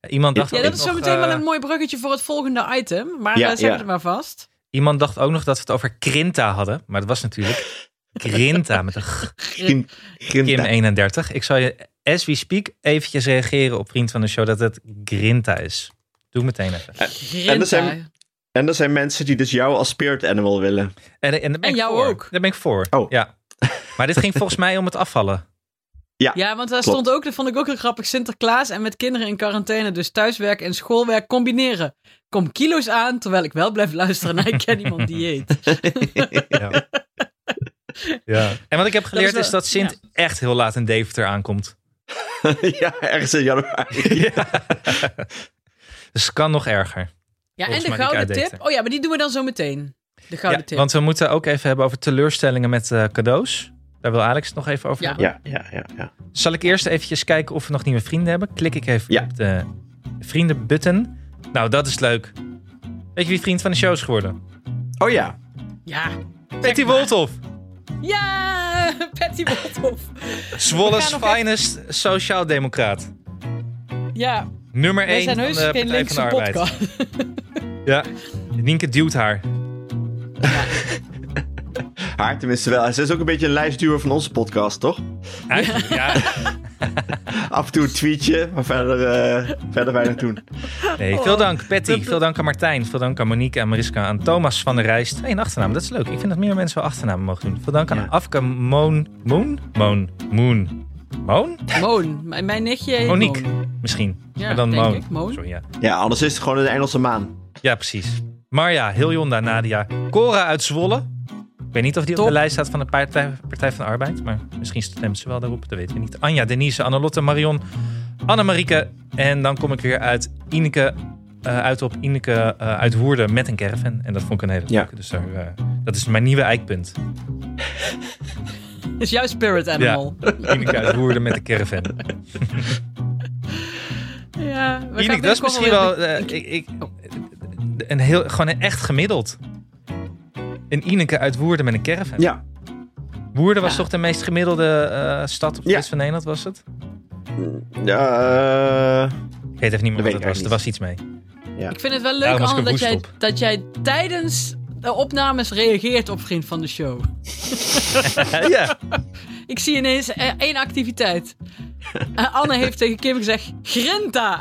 Iemand dacht, Ja, ook dat is nog, zo meteen wel eh, een mooi bruggetje voor het volgende item. Maar Ja, eh, zeg ja. het maar vast. iemand dacht ook nog dat we het over Krinta hadden. Maar dat was natuurlijk Krinta met een G. Grin- Grinta. Kim31. Ik zal je, as we speak, eventjes reageren op vriend van de show dat het Grinta is. Doe meteen even. Grinta. En er zijn- En er zijn mensen die dus jou als spirit animal willen. En, en, daar ben En ik jou voor. ook. Daar ben ik voor. Oh. Ja. Maar dit ging volgens mij om het afvallen. Ja, want daar Klopt. stond ook, dat vond ik ook heel grappig, Sinterklaas en met kinderen in quarantaine, dus thuiswerk en schoolwerk combineren. Kom kilo's aan, terwijl ik wel blijf luisteren naar ik ken iemand die eet. Ja. ja. En wat ik heb geleerd wel- is dat Sint echt heel laat in Deventer aankomt. ja, ergens in januari. Dus het kan nog erger. Ja, Volgens en de mij die gouden kaart tip. deed, Oh ja, maar die doen we dan zo meteen. De gouden Ja, tip. want we moeten ook even hebben over teleurstellingen met eh, cadeaus. Daar wil Alex het nog even over Ja. hebben. Ja, ja, ja. ja. Zal ik eerst eventjes kijken of we nog nieuwe vrienden hebben? Klik ik even Ja. op de vriendenbutton. Nou, dat is leuk. Weet je wie vriend van de show is geworden? Oh ja. Ja. Betty Wolthoff. Ja, Patty Wolthoff. We Zwolle's gaan nog even- finest sociaaldemocraat. Ja, Nummer wij 1 van zijn de heus Partij geen van de linkse Arbeid. podcast. Ja, Nienke duwt haar. Haar tenminste wel. Ze is ook een beetje een lijstduwer van onze podcast, toch? Eigenlijk, ja. Af en toe een tweetje, maar verder, eh, verder weinig doen. Nee, Oh. veel dank Patty, veel dank aan Martijn, veel dank aan Monique, aan Mariska, aan Thomas van der Rijst. Hé, een achternaam, dat is leuk. Ik vind dat meer mensen wel achternamen mogen doen. Veel dank aan Ja. Afke Moon, Moon, Moon, Moon, Moon? Moon, mijn mijn nichtje heet Monique, Moon. misschien. Ja, maar dan denk Moon. ik, Moon. Sorry, ja. Ja, anders is het gewoon een Engelse maan. ja, precies. Marja, Hiljonda, Nadia, Cora uit Zwolle. Ik weet niet of die op Top. de lijst staat van de Partij, Partij van de Arbeid, maar misschien stemt ze wel daarop, dat weten we niet. Anja, Denise, Annelotte, Marion, Annemarieke. En dan kom ik weer uit Ineke, eh, uit op Ineke eh, uit Woerden met een caravan. En dat vond ik een hele Ja. leuke, dus daar, eh, dat is mijn nieuwe eikpunt. Is jouw spirit animal. Ja, Ineke uit Woerden met een caravan. we gaan Ineke, dat is binnenkort misschien weer- wel eh, ik, ik, een heel, gewoon een echt gemiddeld. Een Ineke uit Woerden met een caravan. Ja. Woerden was Ja. toch de meest gemiddelde eh, stad op de Ja. rest van Nederland, was het? Ja, eh, Ik weet even niet meer Dat wat het weet was. ik Er was iets mee. Ik vind het wel leuk, Daarom was ik Anne, er dat jij, woest dat jij tijdens de opnames reageert op Vriend van de Show. ja. Ik zie ineens eh, één activiteit. Eh, Anne heeft tegen Kim gezegd, Grinta!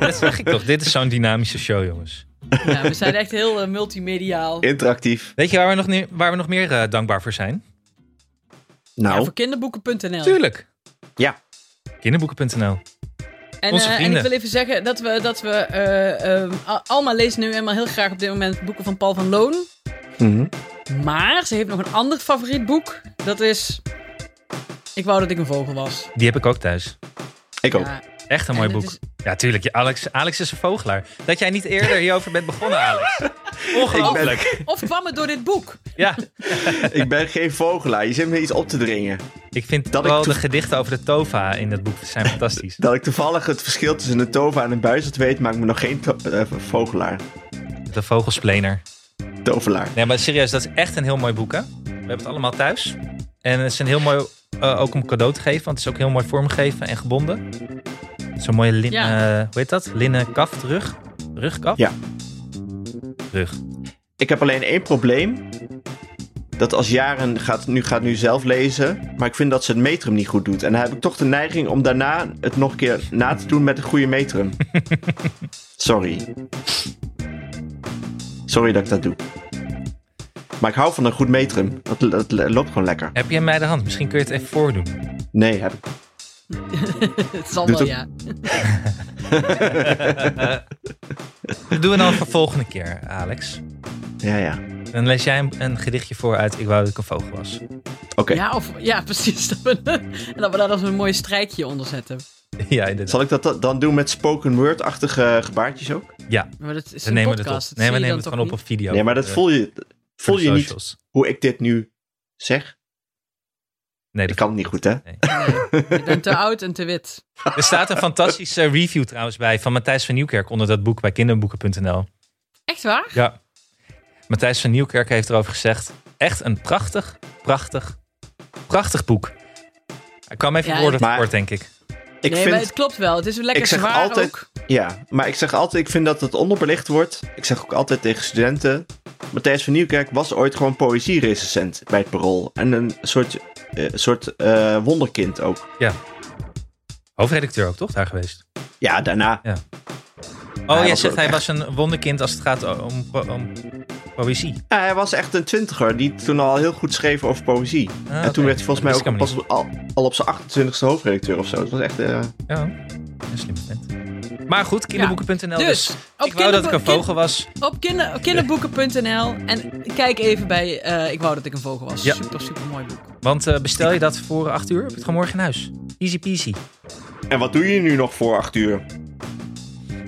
Dat zeg ik toch. Dit is zo'n dynamische show, jongens. Ja, we zijn echt heel eh, multimediaal. interactief. Weet je waar we nog, nie- waar we nog meer eh, dankbaar voor zijn? Ja, Nou, voor kinderboeken.nl. Tuurlijk. Ja. Kinderboeken.nl. En, Onze eh, en ik vrienden. wil even zeggen dat we, dat we eh, ehm, Al- Alma leest nu eenmaal heel graag op dit moment boeken van Paul van Loon. mhm. Maar ze heeft nog een ander favoriet boek. Dat is Ik wou dat ik een vogel was. Die heb ik ook thuis. ik ook. Ja, Echt een mooi En het boek. Ja, tuurlijk. Ja, Alex, Alex is een vogelaar. Dat jij niet eerder hierover bent begonnen, Alex. Ongelooflijk. Of kwam het door dit boek? Ja. Ik ben geen vogelaar. Je zit me iets op te dringen. Ik vind Dat ik wel toe- de gedichten over de tova in dat boek zijn fantastisch. Dat ik toevallig het verschil tussen een tova en een buizerd weet, maakt me nog geen to- eh, vogelaar. De vogelsplener. Tovelaar. Nee, maar serieus, dat is echt een heel mooi boek, hè? We hebben het allemaal thuis. En het is een heel mooi, eh, ook om cadeau te geven, want het is ook heel mooi vormgegeven en gebonden. Zo'n mooie linnen, Ja. eh, hoe heet dat? Linnen kaft, rug? Rugkaf? Ja. Rug. Ik heb alleen één probleem. Dat als Jaren gaat nu, gaat nu zelf lezen, maar ik vind dat ze het metrum niet goed doet. En dan heb ik toch de neiging om daarna het nog een keer na te doen met een goede metrum. Sorry. Sorry dat ik dat doe. Maar ik hou van een goed metrum. Dat, dat loopt gewoon lekker. Heb je hem bij de hand? Misschien kun je het even voordoen. Nee, heb ik. Het zal Doet wel, hem- ja. Dat doen we dan voor volgende keer, Alex. Ja, ja. Dan lees jij een, een gedichtje voor uit Ik wou dat ik een vogel was. Oké. Ja, of, ja precies. Dat we, en dat we daar dan een mooi strijkje onder zetten. ja, inderdaad. Zal ik dat da- dan doen met spoken word-achtige gebaartjes ook? Ja, Maar dat is we een nemen het op. podcast. dat Nee, we zie je nemen het dan gewoon op toch op video. Nee, maar dat Eh, voel je, voor voel de je niet socials. hoe ik dit nu zeg. Nee, Ik dat kan het niet goed, hè? niet. Nee, je bent te oud en te wit. Er staat een fantastische review trouwens bij van Matthijs van Nieuwkerk onder dat boek bij kinderboeken.nl. Echt waar? Ja. Matthijs van Nieuwkerk heeft erover gezegd: echt een prachtig, prachtig, prachtig boek. Hij kwam even Ja, woorden het- tekort, denk ik. Ik nee, vind maar het klopt wel. Het is lekker Ik zeg zwaar altijd- ook. Ja, maar ik zeg altijd, ik vind dat het onderbelicht wordt. Ik zeg ook altijd tegen studenten... Matthijs van Nieuwkerk was ooit gewoon poëzie-recensent bij het Parool. En een soort, eh, soort eh, wonderkind ook. Hoofdredacteur ook, toch? Daar geweest. Ja, daarna. Ja. Oh, jij was zegt ook hij echt- was een wonderkind als het gaat om, po- om poëzie. Ja, hij was echt een twintiger die toen al heel goed schreef over poëzie. en Ah, oké. toen werd hij volgens mij Dat ook wist pas al, al op zijn 28e hoofdredacteur of zo. Het was echt... eh, Ja, een slim vent. Maar goed, kinderboeken.nl Ja. dus. Dus, op Ik wou dat ik een kinderboek- vogel was. Op kinder, kinderboeken.nl. En kijk even bij eh, Ik wou dat ik een vogel was. Ja. Super, super mooi boek. Want eh, bestel je dat voor 8 uur, heb je het gewoon morgen in huis. Easy peasy. En wat doe je nu nog voor acht uur?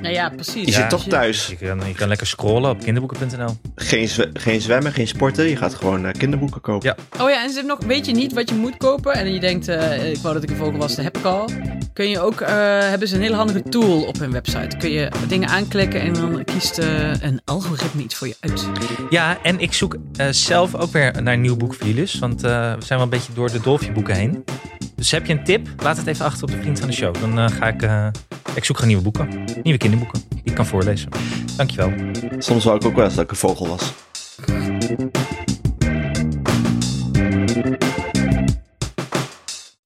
Nou ja, precies. Je Ja. zit toch thuis. Je kan, je kan lekker scrollen op kinderboeken.nl. Geen, zwe- geen zwemmen, geen sporten. Je gaat gewoon eh, kinderboeken kopen. Ja. Oh ja, en ze hebben nog, weet je niet wat je moet kopen? En je denkt, eh, ik wou dat ik een vogel was, dat heb ik al. Kun je ook, eh, hebben ze een hele handige tool op hun website. Kun je dingen aanklikken en dan kiest eh, een algoritme iets voor je uit. Ja, en ik zoek eh, zelf ook weer naar een nieuw boek voor jullie. dus, Want eh, we zijn wel een beetje door de Dolfje boeken heen. Dus heb je een tip? Laat het even achter op de vriend van de show. Dan eh, ga ik... eh, ik zoek gewoon nieuwe boeken. Nieuwe kinderboeken. die Ik kan voorlezen. Dankjewel. Soms wou ik ook wel eens dat ik een vogel was.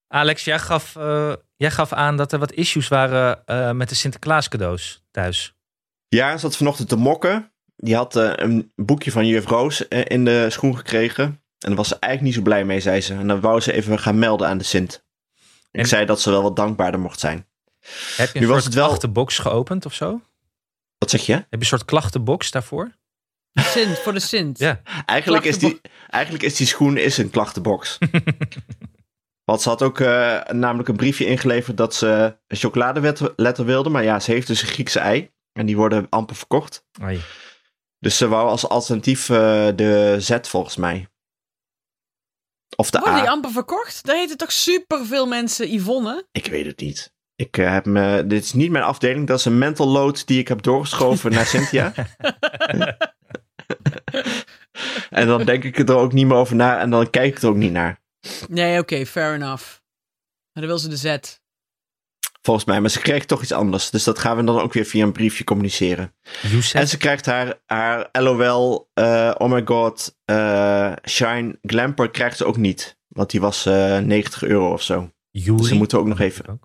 Alex, jij gaf, eh, jij gaf aan dat er wat issues waren eh, met de Sinterklaas cadeaus thuis. Ja, zat vanochtend te mokken. Die had eh, een boekje van juf Roos eh, in de schoen gekregen. En daar was ze eigenlijk niet zo blij mee, zei ze. En dan wou ze even gaan melden aan de Sint. Ik En- zei dat ze wel wat dankbaarder mocht zijn. Heb je een Nu was soort het wel- klachtenbox geopend of zo? Heb Wat zeg je? je een soort klachtenbox daarvoor? Sint, voor de Sint. Ja. Eigenlijk is, die, eigenlijk is die schoen is een klachtenbox. Want ze had ook eh, namelijk een briefje ingeleverd dat ze een chocoladeletter wilde. Maar ja, ze heeft dus een Griekse ei. En die worden amper verkocht. Ai. Dus ze wou als alternatief eh, de Z volgens mij. Of de Worden A. die amper verkocht? Daar heten toch superveel mensen Yvonne? Ik weet het niet. Ik eh, heb me, dit is niet mijn afdeling. Dat is een mental load die ik heb doorgeschoven naar Cynthia. en dan denk ik er ook niet meer over na. En dan kijk ik er ook niet naar. Nee, oké, fair enough. Maar dan wil ze de Z. Volgens mij. Maar ze krijgt toch iets anders. Dus dat gaan we dan ook weer via een briefje communiceren. Youssef. En ze krijgt haar, haar LOL, eh, oh my god, eh, Shine Glamper krijgt ze ook niet. Want die was eh, 90 euro of zo. Yuri. Dus ze moeten ook nog even...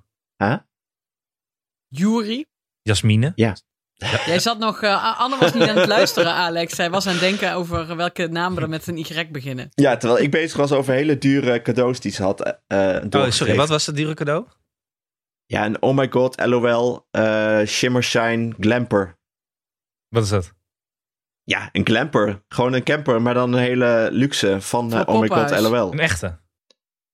Jury. Jasmine. Jij zat nog, eh, Anne was niet aan het luisteren, Alex. Zij was aan het denken over welke namen er met een Y beginnen. Ja, terwijl ik bezig was over hele dure cadeaus die ze had eh, eh, Oh, doorgekregen. sorry, wat was dat dure cadeau? Ja, en oh my god, LOL, eh, Shimmer Shine Glamper. Wat is dat? Ja, een glamper. Gewoon een camper, maar dan een hele luxe van eh, Van oh my god, Poppenhuis. LOL. Een echte.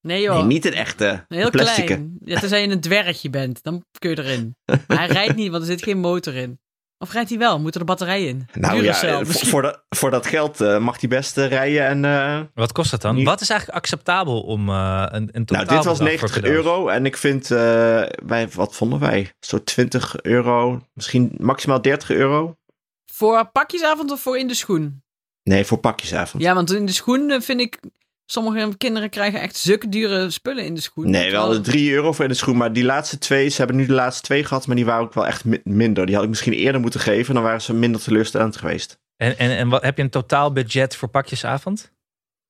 Nee joh. Nee, niet een echte. Een heel een plastic. klein. Ja, tenzij je een dwergje bent, dan kun je erin. Maar hij rijdt niet, want er zit geen motor in. Of rijdt hij wel? Moet er een batterij in? Nou ja, Duracell eh, voor, misschien. voor dat, voor dat geld eh, mag hij best eh, rijden. En, eh, Wat kost dat dan? Nu- Wat is eigenlijk acceptabel om eh, een, een totaal nou, dit was bedrag voor 90 cadeaus? euro. En ik vind, eh, wij, wat vonden wij? Zo'n 20 euro, misschien maximaal 30 euro. Voor pakjesavond of voor in de schoen? Nee, voor pakjesavond. Ja, want in de schoen eh, vind ik... Sommige kinderen krijgen echt zulke dure spullen in de schoen. Nee, wel de Terwijl- 3 euro voor in de schoen. Maar die laatste twee, ze hebben nu de laatste twee gehad. Maar die waren ook wel echt mi- minder. Die had ik misschien eerder moeten geven. Dan waren ze minder teleurstellend geweest. En, en, en wat, heb je een totaal budget voor pakjesavond?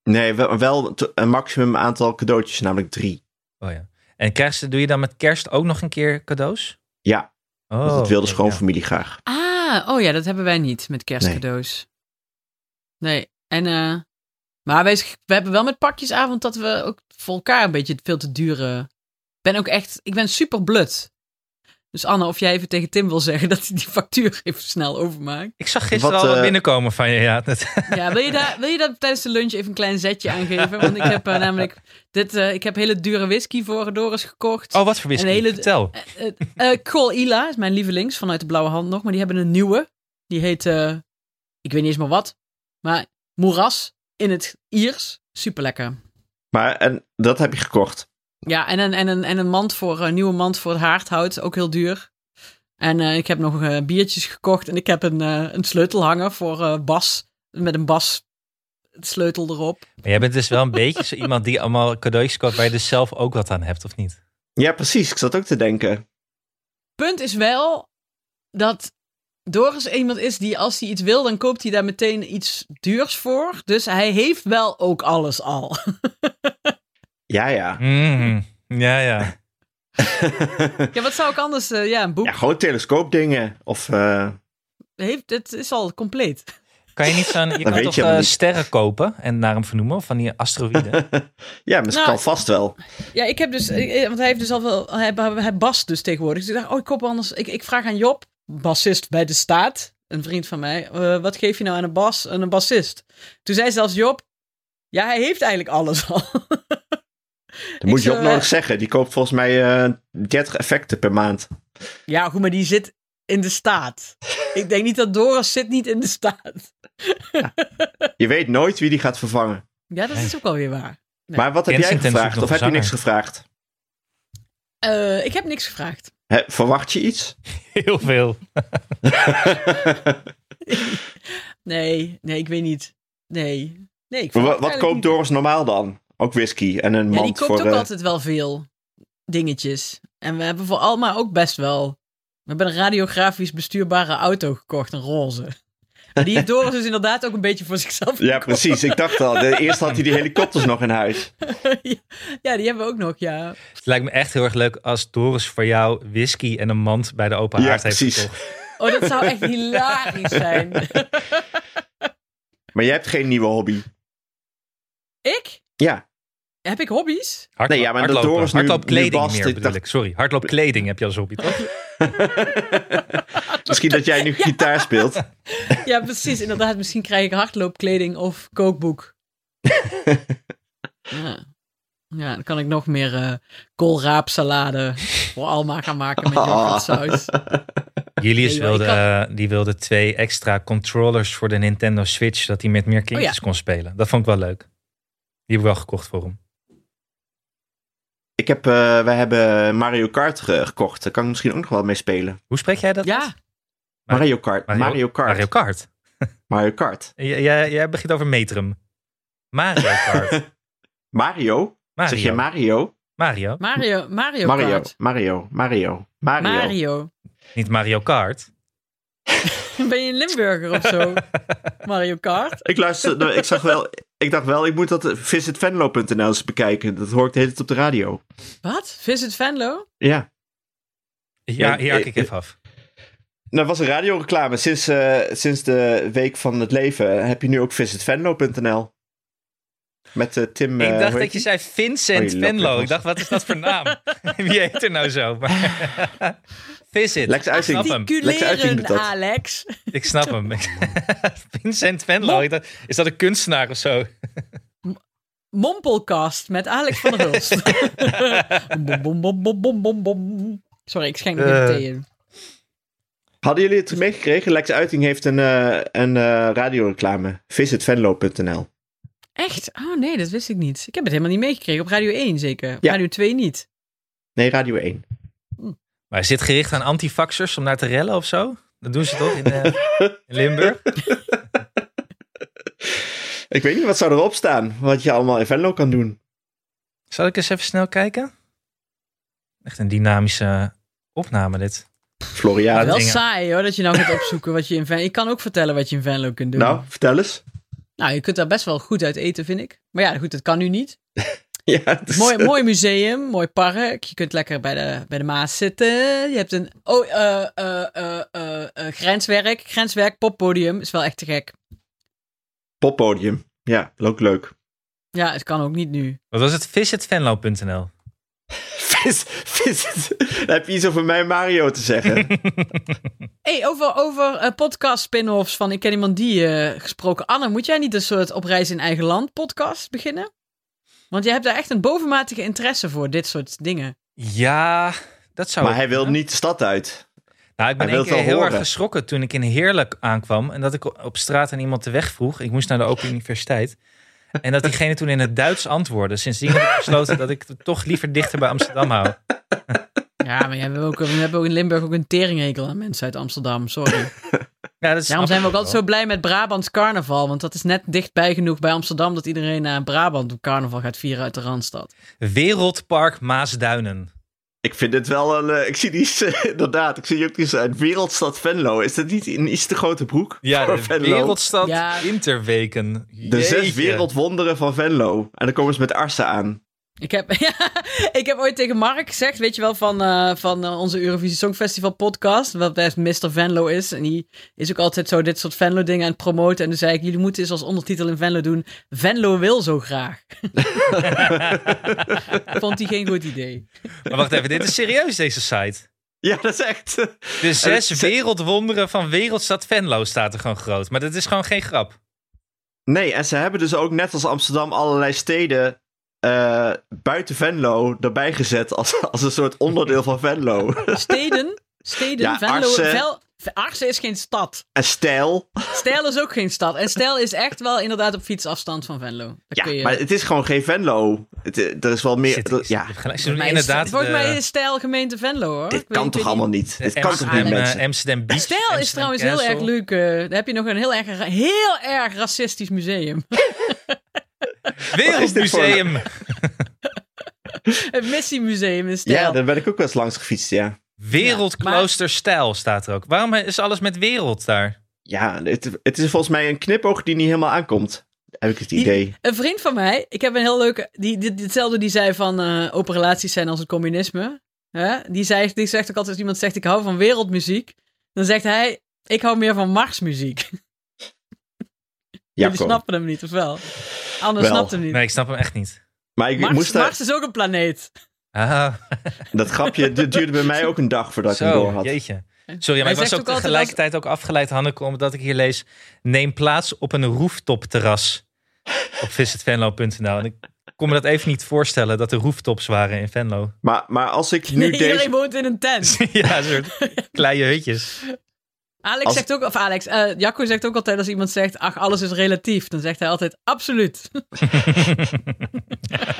Nee, wel, wel te- een maximum aantal cadeautjes, namelijk drie. Oh ja. En krijg ze, doe je dan met kerst ook nog een keer cadeaus? Ja, Oh, want dat wilde oké, ja. schoonfamilie graag. Ah, oh ja, dat hebben wij niet met kerstcadeaus. Nee. En, eh, maar wij, sch- we hebben wel met pakjesavond dat we ook voor elkaar een beetje veel te dure. Ik ben ook echt, ik ben super blut. Dus Anne, of jij even tegen Tim wil zeggen dat hij die factuur even snel overmaakt. Ik zag gisteren Wat, al wat eh, binnenkomen van je. Ja, net. Ja, wil je, daar, wil je dat tijdens de lunch even een klein zetje aangeven? Want ik heb eh, namelijk, dit, eh, ik heb hele dure whisky voor Doris gekocht. Oh, wat voor whisky? Een hele- Vertel. Eh, eh, eh, Col Ila is mijn lievelings vanuit de blauwe hand nog, maar die hebben een nieuwe. Die heet, eh, ik weet niet eens meer wat, maar moeras in het Iers. Super lekker. Maar en, dat heb je gekocht. Ja, en een, en een, en een mand voor, een nieuwe mand voor het haardhout, ook heel duur. En eh, ik heb nog eh, biertjes gekocht en ik heb een, eh, een sleutelhanger voor eh, Bas, met een Bas sleutel erop. Maar jij bent dus wel een beetje zo iemand die allemaal cadeautjes koopt waar je dus zelf ook wat aan hebt, of niet? Ja, precies. Ik zat ook te denken. Punt is wel dat Doris iemand is die als hij iets wil, dan koopt hij daar meteen iets duurs voor. Dus hij heeft wel ook alles al. Ja, ja. Mhm. Mm-hmm. Ja, ja. Ja, wat zou ik anders... eh, ja, een boek. Ja, gewoon telescoopdingen. Of eh, Heeft, het is al compleet. Kan je niet zo'n... Je kan weet toch je helemaal eh, niet. sterren kopen en naar hem vernoemen? Van die asteroïden? ja, misschien Nou, kan vast wel. Ja, ik heb dus... eh, eh, Want hij heeft dus al wel... Hij, hij bast dus tegenwoordig. Dus ik dacht, oh, ik koop anders... Ik, ik vraag aan Job, bassist bij de staat. Een vriend van mij. eh, wat geef je nou aan een bas aan een bassist? Toen zei zelfs Job... Ja, hij heeft eigenlijk alles al. Dat moet Ik je zou- eh, ook nodig zeggen. Die koopt volgens mij eh 30 effecten per maand. ja, goed, maar die zit in de staat. Ik denk niet dat Doris zit niet in de staat. Je weet nooit wie die gaat vervangen. Ja, dat is ook alweer waar. Nee. Maar wat heb jij Kensington gevraagd? zoekt Of nog heb je een niks gevraagd? Eh, ik heb niks gevraagd. Hè, verwacht je iets? Heel veel. Nee, nee, ik weet niet. Nee. nee ik Wa- vraag Wat, eigenlijk koopt niet. Doris normaal dan? Ook whisky en een Ja, mand die koopt voor... ook eh, altijd wel veel dingetjes. En we hebben voor Alma ook best wel... We hebben een radiografisch bestuurbare auto gekocht, een roze. Maar die heeft Doris dus inderdaad ook een beetje voor zichzelf Ja, precies. Ik dacht al. De, eerst had hij die helikopters nog in huis. gekocht. ja, die hebben we ook nog, ja. Het lijkt me echt heel erg leuk als Doris voor jou whisky en een mand bij de open Ja, haard heeft precies. gekocht. Oh, dat zou echt hilarisch zijn. Maar jij hebt geen nieuwe hobby. ik? Ja. Heb ik hobby's? Hardlo- Nee, ja, maar dat hardlopen. Doris nu- Hardloopkleding nu niet bast, meer ik bedoel dacht- ik. Sorry, hardloopkleding heb je als hobby toch? Misschien dat jij nu gitaar speelt. Ja, precies. Inderdaad, misschien krijg ik hardloopkleding of kookboek. ja. ja, dan kan ik nog meer eh koolraapsalade voor Alma gaan maken met yoghurtsaus. Julius Nee, joh, wilde, ik eh, die wilde twee extra controllers voor de Nintendo Switch, dat hij met meer kindjes Oh kon spelen. Dat vond ik wel leuk. Die heb ik wel gekocht voor hem. Ik heb, eh, wij hebben Mario Kart ge- gekocht. Daar kan ik misschien ook nog wel mee spelen. Hoe spreek jij dat? Ja, Mario Kart. Mario, Kart. Mario Mario, Kart. Kart. J- jij- jij begint over Metrum. Mario Kart. Mario? Mario. Zeg je Mario? Mario. Mario, Mario, Mario. Kart. Mario. Mario. Mario. Mario. Niet Mario Kart. Ben je een Limburger of zo? Mario Kart? Ik luisterde, ik zag wel, ik dacht wel, ik moet dat eh, visitvenlo.nl eens bekijken. Dat hoor ik de hele tijd op de radio. Wat? Visit Venlo? Ja. Ja, Nee, hier haak eh, ik even af. Nou, dat was een radioreclame. Sinds, eh, sinds de Week van het Leven eh, heb je nu ook visitvenlo.nl. Met eh, Tim... eh, ik dacht hoe dat heet je zei die? Vincent Oh, je laptop Venlo. was- Ik dacht, wat is dat voor naam? Wie heet er nou zo? Maar- Visit. Lex Uiting. Ik Ah, snap hem. Lex Uiting doet Culeren, dat. Alex. Ik snap hem. Vincent Venlo. Ik dacht, is dat een kunstenaar of zo? Mompelcast met Alex van der Hulst. bom, bom, bom, bom, bom, bom, bom. Sorry, ik schenk nog even Eh. thee in. Hadden jullie het meegekregen? Lex Uiting heeft een, eh een eh, radioreclame. Visitvenlo.nl. Echt? Oh nee, dat wist ik niet. Ik heb het helemaal niet meegekregen. Op Radio 1 zeker. Op Ja. Radio 2 niet. Nee, Radio 1. Maar is dit gericht aan antifaxers om naar te rellen of zo? Dat doen ze toch in, eh, in Limburg? Ik weet niet wat zou erop staan. Wat je allemaal in Venlo kan doen. Zal ik eens even snel kijken? Echt een dynamische opname dit. Floriade. Wel dingen. saai hoor, dat je nou gaat opzoeken wat je in Venlo... Ik kan ook vertellen wat je in Venlo kunt doen. Nou, vertel eens. Nou, je kunt daar best wel goed uit eten, vind ik. Maar ja, goed, dat kan nu niet. Ja, het is- Mooi, mooi museum, mooi park. Je kunt lekker bij de, bij de Maas zitten. Je hebt een oh, eh, eh, eh, eh, eh, grenswerk. Grenswerk, poppodium. Is wel echt te gek. Poppodium. Ja, ook leuk. Ja, het kan ook niet nu. Wat was het? Visitvenlo.nl. Vis, visit. Dan heb je iets over mij Mario te zeggen. hey, over, over eh, podcast spin-offs van Ik Ken Iemand Die eh, gesproken. Anne, moet jij niet een soort op reis in eigen land podcast beginnen? Want jij hebt daar echt een bovenmatige interesse voor, dit soort dingen. Ja, dat zou maar ik hij wil kunnen. niet de stad uit. Nou, ik ben Hij wil één het keer wel heel horen. erg geschrokken toen ik in Heerlijk aankwam. En dat ik op straat aan iemand de weg vroeg. Ik moest naar de Open Universiteit. En dat diegene toen in het Duits antwoordde. Sindsdien heb ik besloten dat ik het toch liever dichter bij Amsterdam hou. Ja, maar jij, we, hebben ook, we hebben ook in Limburg ook een teringhekel aan mensen uit Amsterdam. Sorry. Ja, dat Daarom snap zijn we ik ook altijd zo blij met Brabants carnaval. Want dat is net dichtbij genoeg bij Amsterdam dat iedereen naar Brabant carnaval gaat vieren uit de Randstad. wel. Wereldpark Maasduinen. Ik vind het wel een. eh, ik zie die. eh, inderdaad, ik zie ook die uit Wereldstad Venlo. Is dat niet een iets te grote broek? Ja, voor de Venlo? Wereldstad Ja. Winterweken. De zes Jeetje. wereldwonderen van Venlo. En dan komen ze met Arsen aan. Ik heb, ja, ik heb ooit tegen Mark gezegd, weet je wel, van, eh, van eh, onze Eurovisie Songfestival podcast, wat best Mr. Venlo is. En die is ook altijd zo dit soort Venlo dingen aan het promoten. En toen zei ik, jullie moeten eens als ondertitel in Venlo doen, Venlo wil zo graag. Vond hij geen goed idee. Maar wacht even, dit is serieus, deze site. Ja, dat is echt. De zes ze- wereldwonderen van wereldstad Venlo staat er gewoon groot. Maar dat is gewoon geen grap. Nee, en ze hebben dus ook net als Amsterdam allerlei steden eh, buiten Venlo erbij gezet als, als een soort onderdeel van Venlo. Steden, steden, Ja, Venlo, Arsen. Vel, Arsen is geen stad. en stijl. Stijl is ook geen stad. En Stijl is echt wel inderdaad op fietsafstand van Venlo. Daar Ja, kun je... maar het is gewoon geen Venlo. Het, eh, er is wel meer. Zit- er- ja, je hebt gelijk, Ze Volgens doen mij is- inderdaad Volgens mij de- is Stijl gemeente Venlo, hoor. eh, dit Ik weet- kan ik toch weet niet- allemaal niet? de Dit kan toch niet, Amsterdam, eh, mensen? Amsterdam Beach. Stijl is Amsterdam trouwens heel Castle. erg leuk. eh, daar heb je nog een heel erg, heel erg racistisch museum. Wereldmuseum. Het missiemuseum in Stijl. Ja, daar ben ik ook wel eens langs gefietst, ja. Wereldklooster Stijl staat er ook. Waarom is alles met wereld daar? Ja, het, het is volgens mij een knipoog die niet helemaal aankomt. Heb ik het idee. Een vriend van mij, ik heb een heel leuke. Die, die, die- hetzelfde die zei van eh, open relaties zijn als het communisme. Hè? Die, zei, die zegt ook altijd: als iemand zegt ik hou van wereldmuziek, dan zegt hij: ik hou meer van marsmuziek. Ja, Jullie kom. snappen hem niet, of wel? Anders Wel. snapt hem niet. Nee, ik snap hem echt niet. Maar ik Mars, moest daar- Mars is ook een planeet. Ah, dat grapje dit duurde bij mij ook een dag voordat ik hem door zo, had. jeetje. Sorry, maar Hij ik was zegt ook ook altijd tegelijkertijd ook afgeleid, Hanneke, omdat ik hier lees... Neem plaats op een rooftopterras op visitvenlo.nl. En ik kon me dat even niet voorstellen, dat er rooftops waren in Venlo. Maar, maar als ik nu Nee, deze... Iedereen woont in een tent. ja, een soort kleine hutjes. Alex Als- zegt ook, of Alex, eh, Jacco zegt ook altijd als iemand zegt, ach, alles is relatief. Dan zegt hij altijd, absoluut.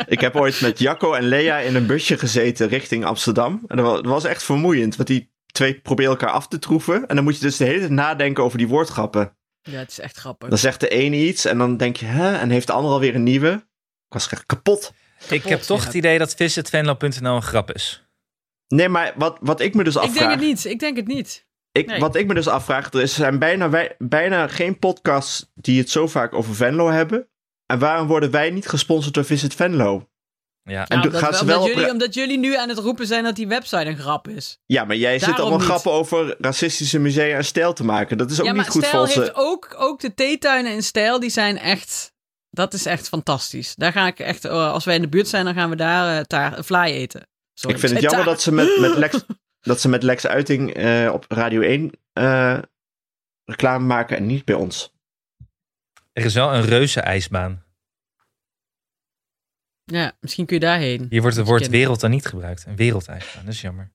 Ik heb ooit met Jacco en Lea in een busje gezeten richting Amsterdam. En dat wa- dat was echt vermoeiend, want die twee proberen elkaar af te troeven. En dan moet je dus de hele tijd nadenken over die woordgrappen. Ja, het is echt grappig. Dan zegt de ene iets en dan denk je, hè? En heeft de ander alweer een nieuwe? Ik was echt kapot. Ik heb toch ja. het idee dat visitvenlo.nl een grap is. Nee, maar wat, wat ik me dus Ik denk afvraag... het niet, ik denk het niet. Ik, Nee. Wat ik me dus afvraag, er is- zijn bijna, wij- bijna geen podcasts die het zo vaak over Venlo hebben. En waarom worden wij niet gesponsord door Visit Venlo? Ja. En Ja, doen- Nou, omdat, gaan ze omdat wel op jullie, re- omdat jullie nu aan het roepen zijn dat die website een grap is. Ja, maar jij zit Daarom allemaal niet. grappen over racistische musea en stijl te maken. Dat is ook ja, maar niet goed Stijl voor onze... heeft ook, ook de theetuinen in Stijl, die zijn echt, dat is echt fantastisch. Daar ga ik echt, eh, als wij in de buurt zijn, dan gaan we daar eh, taar, eh, fly eten. Sorry, Ik vind het zei jammer taar. dat ze met, met, Lex, dat ze met Lex Uiting eh, op Radio 1 eh, reclame maken en niet bij ons. Er is wel een reuze ijsbaan. Ja, misschien kun je daarheen. Hier wordt het woord Misschien. wereld dan niet gebruikt. Een wereldijsbaan, dat is jammer.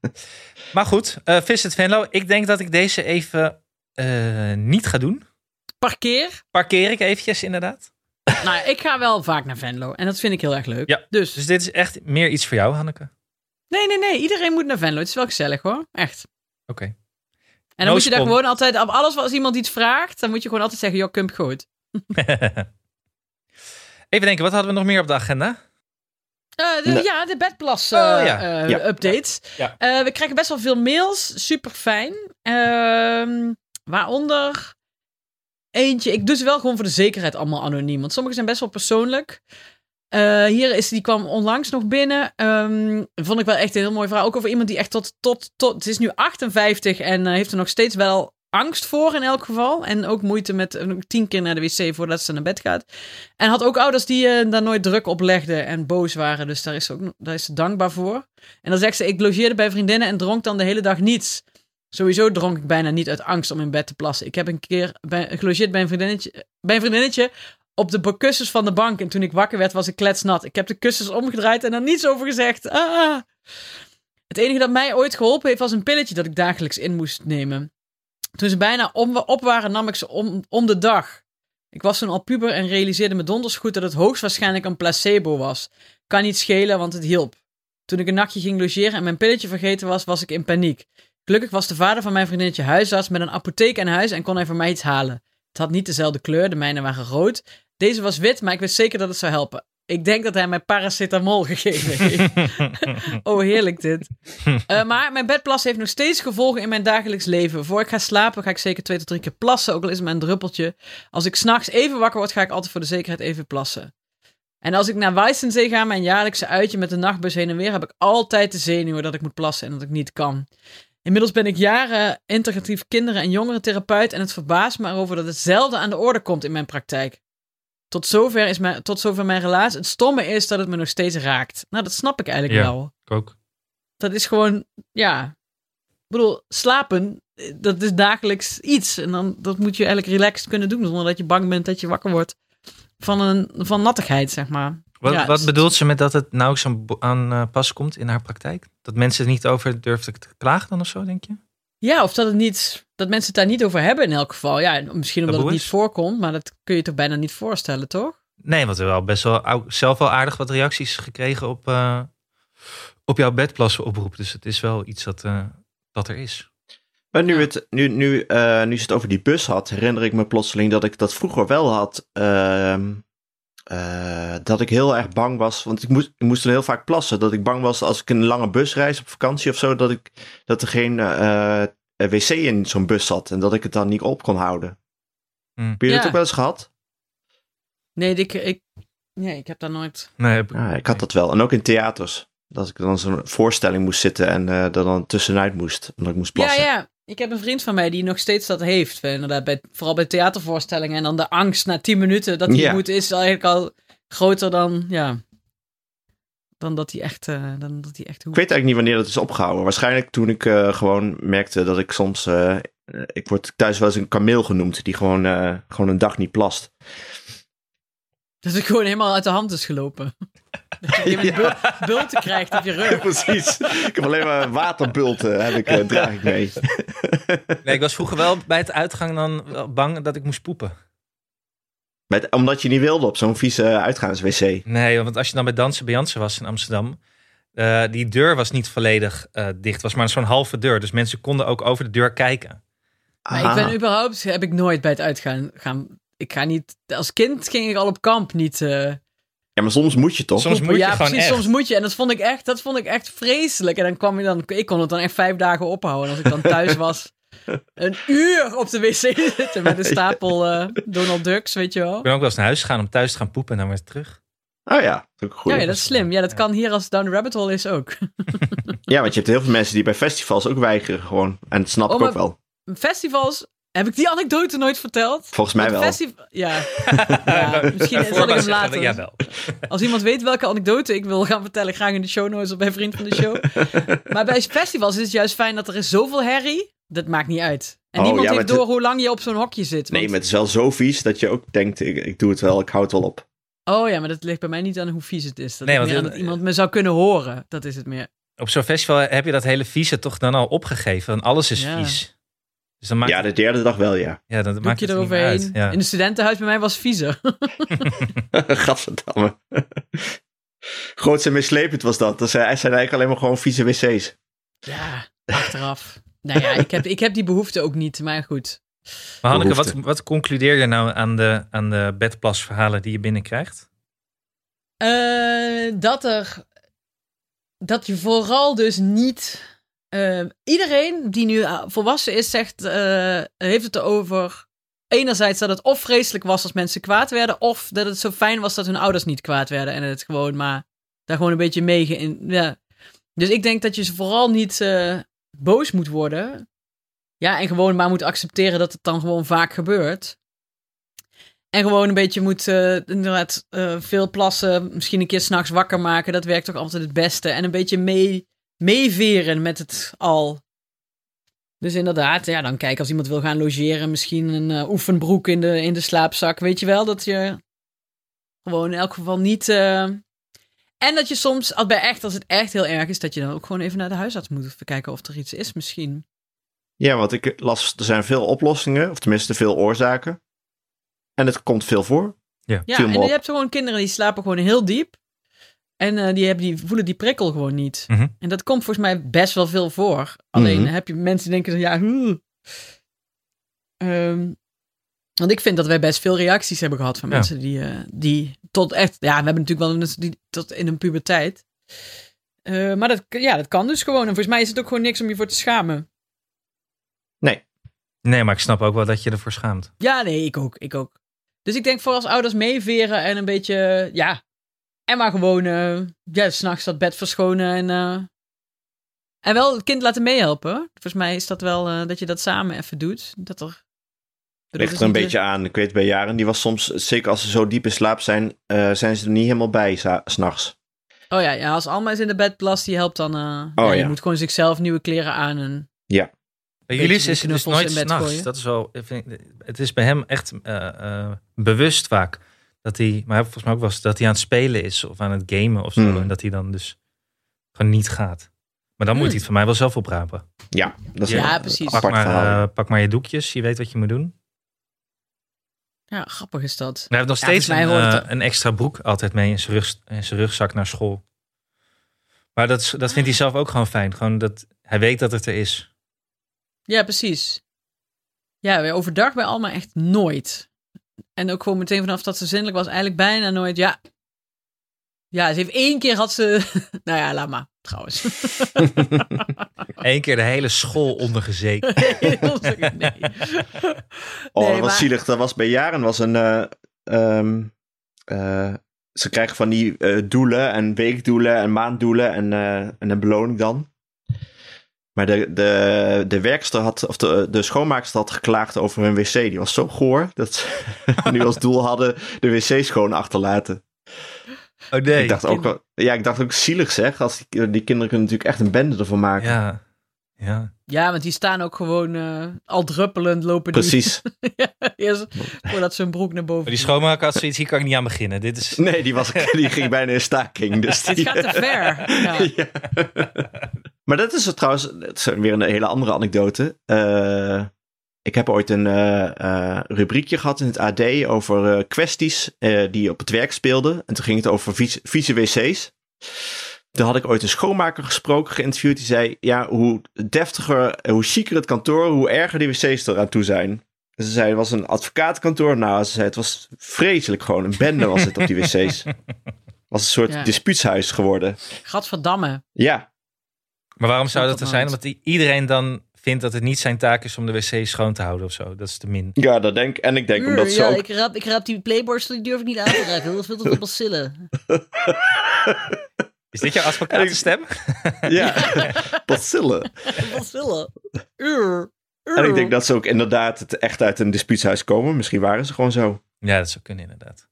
maar goed, eh Visit Venlo. Ik denk dat ik deze even eh, niet ga doen. Parkeer. Parkeer ik eventjes inderdaad. nou, ik ga wel vaak naar Venlo en dat vind ik heel erg leuk. Ja. Dus Dus dit is echt meer iets voor jou, Hanneke. Oké. Nee, nee, nee. Iedereen moet naar Venlo. Het is wel gezellig hoor. Echt. En dan No moet je daar spon. gewoon altijd, op alles wat als iemand iets vraagt, dan moet je gewoon altijd zeggen, joh, kump goed. even denken, wat hadden we nog meer op de agenda? Eh, de- Nee. Ja, de bedplas eh Oh, ja. eh, Ja. updates. Ja. Eh, we krijgen best wel veel mails. Super fijn. waaronder eentje. Ik doe ze wel gewoon voor de zekerheid allemaal anoniem. Want sommige zijn best wel persoonlijk. Eh, hier is, die kwam onlangs nog binnen. Ehm, vond ik wel echt een heel mooi verhaal. Ook over iemand die echt tot, tot, tot het is nu 58 en eh, heeft er nog steeds wel angst voor in elk geval. En ook moeite met eh, tien keer naar de wc voordat ze naar bed gaat. En had ook ouders die eh, daar nooit druk op legden en boos waren. Dus daar is ze, ook, daar is ze dankbaar voor. En dan zegt ze, ik logeerde bij vriendinnen en dronk dan de hele dag niets. Sowieso dronk ik bijna niet uit angst om in bed te plassen. Ik heb een keer bij, gelogeerd bij een vriendinnetje, bij een vriendinnetje op de ba- kussens van de bank. En toen ik wakker werd, was ik kletsnat. Ik heb de kussens omgedraaid en er niets over gezegd. Ah. Het enige dat mij ooit geholpen heeft, was een pilletje dat ik dagelijks in moest nemen. Toen ze bijna om, op waren, nam ik ze om, om de dag. Ik was toen al puber en realiseerde me donders goed dat het hoogstwaarschijnlijk een placebo was. Kan niet schelen, want het hielp. Toen ik een nachtje ging logeren en mijn pilletje vergeten was, was ik in paniek. Gelukkig was de vader van mijn vriendinnetje huisarts met een apotheek aan huis en kon hij voor mij iets halen. Het had niet dezelfde kleur, de mijne waren rood. Deze was wit, maar ik wist zeker dat het zou helpen. Ik denk dat hij mij paracetamol gegeven heeft. Oh, heerlijk dit. Eh, maar mijn bedplas heeft nog steeds gevolgen in mijn dagelijks leven. Voor ik ga slapen ga ik zeker twee tot drie keer plassen, ook al is het maar een druppeltje. Als ik s'nachts even wakker word, ga ik altijd voor de zekerheid even plassen. En als ik naar Weissensee ga, mijn jaarlijkse uitje met de nachtbus heen en weer, heb ik altijd de zenuwen dat ik moet plassen en dat ik niet kan. Inmiddels ben ik jaren integratief kinderen- en jongerentherapeut en het verbaast me erover dat het zelden aan de orde komt in mijn praktijk. Tot zover, is mijn, tot zover mijn relaas. Het stomme is dat het me nog steeds raakt. Nou, dat snap ik eigenlijk Ja. wel. Ik ook. Dat is gewoon, ja. Ik bedoel, slapen, eh, dat is dagelijks iets. En dan, dat moet je eigenlijk relaxed kunnen doen, zonder dat je bang bent dat je wakker wordt van, een, van nattigheid, zeg maar. Wat, Ja, wat dus- bedoelt ze met dat het nauwelijks aan, bo- aan eh, pas komt in haar praktijk? Dat mensen er niet over durven te klagen dan of zo, denk je? Ja, of dat het niet, dat mensen het daar niet over hebben in elk geval. Ja, en misschien omdat het Taboe niet is? voorkomt, maar dat kun je toch bijna niet voorstellen, toch? Nee, want we hebben wel best wel ou- zelf wel aardig wat reacties gekregen op, eh, op jouw bedplassen oproep. Dus het is wel iets dat, eh, dat er is. Maar nu, het, nu, nu, eh, nu ze het over die bus had, herinner ik me plotseling dat ik dat vroeger wel had. ehm, eh, dat ik heel erg bang was, want ik moest, ik moest dan heel vaak plassen. Dat ik bang was als ik een lange busreis op vakantie of zo, dat, ik, dat er geen eh, eh, wc in zo'n bus zat en dat ik het dan niet op kon houden. Hmm. Heb je dat Ja. ook wel eens gehad? Nee, ik, ik, nee, ik heb daar nooit. Nee, heb Ja, ik had dat wel. En ook in theaters. Dat ik dan zo'n voorstelling moest zitten en eh er dan tussenuit moest. Omdat ik moest plassen. Ja, ja. Ik heb een vriend van mij die nog steeds dat heeft. eh, Inderdaad, bij, vooral bij theatervoorstellingen. En dan de angst na 10 minuten dat hij Ja. moet, is eigenlijk al groter dan, ja. Dan dat hij echt, eh, dan dat hij echt Ik hoeft. weet eigenlijk niet wanneer dat is opgehouden. Waarschijnlijk toen ik eh, gewoon merkte dat ik soms. eh, eh, ik word thuis wel eens een kameel genoemd. die gewoon, eh, gewoon een dag niet plast. Dat het gewoon helemaal uit de hand is gelopen. Dat je een bul- bulten krijgt op je rug. precies. ik heb alleen maar waterbulten. Heb ik, eh, draag ik mee. Nee, ik was vroeger wel bij het uitgang dan wel bang dat ik moest poepen. Met, omdat je niet wilde op zo'n vieze uitgaanswc. Nee, want als je dan bij Dansen bij Jansen was in Amsterdam. eh, die deur was niet volledig eh, dicht. was maar zo'n halve deur. Dus mensen konden ook over de deur kijken. Maar Ah. ik ben überhaupt, heb ik nooit bij het uitgaan gaan. Ik ga niet, als kind ging ik al op kamp niet. eh, Ja, maar soms moet je toch? Soms moet je ja, gewoon precies, echt. soms moet je. En dat vond ik echt, dat vond ik echt vreselijk. En dan kwam je dan, ik kon het dan echt vijf dagen ophouden. En als ik dan thuis was, een uur op de wc zitten met een stapel eh, Donald Ducks, weet je Ik wel. ben ook wel eens naar huis gegaan om thuis te gaan poepen en dan weer terug. Oh ja, dat is ook goed. Ja, Ja, ja, dat is slim. Ja, dat Ja. kan hier als het Down the Rabbit Hole is ook. want je hebt heel veel mensen die bij festivals ook weigeren gewoon. En dat snap Oh, ik ook maar- wel. Festivals, heb ik die anekdote nooit verteld? Volgens mij Want wel. festi- ja. ja, misschien zal ik hem later. Ja, wel. Als iemand weet welke anekdote ik wil gaan vertellen, graag in de show notes of bij Vriend van de Show. maar bij festivals is het juist fijn dat er is zoveel herrie. Dat maakt niet uit. En Oh, niemand ja, heeft maar door hoe lang je op zo'n hokje zit. Nee, want- maar het is wel zo vies dat je ook denkt: ik, ik doe het wel, ik hou het wel op. Oh ja, maar dat ligt bij mij niet aan hoe vies het is. Dat Nee, ligt want meer aan het- dat iemand me zou kunnen horen. Dat is het meer. Op zo'n festival heb je dat hele vieze toch dan al opgegeven. Want alles is Ja. vies. Dus dan maakt, Ja, ja, de derde dag wel, ja. dan maakt Doek je het er niet meer uit. eroverheen. Ja. In het studentenhuis bij mij was het viezer. Gadverdamme. Groots en mislepend was dat. Dat zijn, zijn eigenlijk alleen maar gewoon vieze wc's. ja, achteraf. nou ja, ik heb, ik heb die behoefte ook niet. Maar goed. Maar Hanneke, wat, Behoefte. wat concludeer je nou aan de, aan de bedplasverhalen die je binnenkrijgt? Eh, dat er. Dat je vooral dus niet. eh, iedereen die nu eh, volwassen is, zegt, eh, heeft het erover. Enerzijds dat het of vreselijk was als mensen kwaad werden, of dat het zo fijn was dat hun ouders niet kwaad werden en het gewoon maar daar gewoon een beetje mee. ge- in- ja. Dus ik denk dat je ze vooral niet eh, boos moet worden. Ja, en gewoon maar moet accepteren dat het dan gewoon vaak gebeurt. En gewoon een beetje moet eh, inderdaad eh, veel plassen, misschien een keer s'nachts wakker maken. Dat werkt toch altijd het beste. En een beetje mee, meeveren met het al. Dus inderdaad, ja, dan kijk als iemand wil gaan logeren, misschien een eh, oefenbroek in de, in de slaapzak. Weet je wel, dat je gewoon in elk geval niet... eh, En dat je soms, al bij echt, als het echt heel erg is, dat je dan ook gewoon even naar de huisarts moet even kijken of er iets is misschien. Ja, want ik las, er zijn veel oplossingen, of tenminste veel oorzaken. En het komt veel voor. Ja, Viel me en op. je hebt gewoon kinderen die slapen gewoon heel diep. En eh, die, hebben, die voelen die prikkel gewoon niet. Mhm. En dat komt volgens mij best wel veel voor. Alleen Mhm. heb je mensen die denken, ja, huh. Ehm, want ik vind dat wij best veel reacties hebben gehad van Ja. mensen die, eh, die tot echt, ja, we hebben natuurlijk wel mensen die tot in hun puberteit. Eh, maar dat, ja, dat kan dus gewoon. En volgens mij is het ook gewoon niks om je voor te schamen. Nee, maar ik snap ook wel dat je ervoor schaamt. Ja, nee, ik ook. Ik ook. Dus ik denk voor als ouders meeveren en een beetje, ja, En maar gewoon, eh, ja, s'nachts dat bed verschonen en... eh, en wel het kind laten meehelpen. hoor. Volgens mij is dat wel eh, dat je dat samen even doet. Dat er... Ik bedoel, Ligt het is dus er een niet- beetje aan. Ik weet bij Jaren, die was soms, zeker als ze zo diep in slaap zijn, eh, zijn ze er niet helemaal bij sa- s'nachts. Oh ja, ja, als Alma is in de bed plast, die helpt dan... eh ja, Oh ja. Je moet gewoon zichzelf nieuwe kleren aan en... Bij Beetje Julius de is het dus knuffels nooit in bed s'nachts. gooien. Dat is wel, ik vind, het is bij hem echt eh, eh, bewust vaak. Dat hij, maar hij volgens mij ook was dat hij aan het spelen is of aan het gamen of zo. Hmm. En dat hij dan dus gewoon niet gaat. Maar dan moet Hmm. hij het van mij wel zelf oprapen. Ja, dat is Ja, een precies. apart Pak maar, verhaal. eh, pak maar je doekjes, je weet wat je moet doen. En Ja, grappig is dat. hij heeft nog Ja, steeds een, volgens mij hoort eh, het- een extra broek altijd mee in zijn, rug, in zijn rugzak naar school. Maar dat, is- dat vindt hij zelf ook gewoon fijn. Gewoon dat hij weet dat het er is. Ja, precies. Ja, wij overdag bij Alma echt nooit. En ook gewoon meteen vanaf dat ze zinnelijk was, eigenlijk bijna nooit. Ja, ja ze heeft één keer had ze... nou ja, laat maar, trouwens. Eén keer de hele school ondergezeken. nee. Oh, Nee, dat was maar- zielig. Dat was bij Jaren was een. eh, ehm, eh, ze krijgen van die eh, doelen en weekdoelen en maanddoelen en, eh, en een beloning dan. Maar de, de, de werkster had, of de, de schoonmaakster had geklaagd over hun wc. Die was zo goor dat ze nu als doel hadden de wc schoon achterlaten. Oh nee. ik dacht ook wel, ja, ik dacht ook zielig zeg. Als die, die kinderen kunnen natuurlijk echt een bende ervan maken. Ja. Ja. Ja, want die staan ook gewoon eh, al druppelend lopen. die- Precies. Eerst voordat ze hun broek naar boven Maar die schoonmaker had zoiets, hier kan ik niet aan beginnen. Dit is... Nee, die, was, die ging bijna in staking. Dus Dit die- gaat te ver. Ja. Ja. maar dat is het trouwens dat is weer een hele andere anekdote. Eh, ik heb ooit een eh, eh, rubriekje gehad in het AD over eh, kwesties eh, die op het werk speelden. En toen ging het over vieze, vieze wc's. Toen had ik ooit een schoonmaker gesproken, geïnterviewd. Die zei, ja, hoe deftiger, eh, hoe chiquer het kantoor, hoe erger die wc's eraan toe zijn. En Ze zei, het was een advocaatkantoor. Nou, ze zei, het was vreselijk gewoon. Een bende was het op die wc's. Het was een soort Ja. dispuutshuis geworden. Gadverdamme. Ja, Maar waarom zou Snap dat er dat zijn? nooit. Omdat i- iedereen dan vindt dat het niet zijn taak is om de wc schoon te houden of zo. Dat is te min. Ja, dat denk En ik denk Uur, omdat ze ja, ook... ik, raap, ik raap die playborstel, die durf ik niet aan te raken. Dat is veel te veel bacillen. Is dit jouw advocatenstem? Ja, bacillen. Bacillen. Uur. uur. En ik denk dat ze ook inderdaad het echt uit een dispuutshuis komen. Misschien waren ze gewoon zo. Ja, dat zou kunnen inderdaad.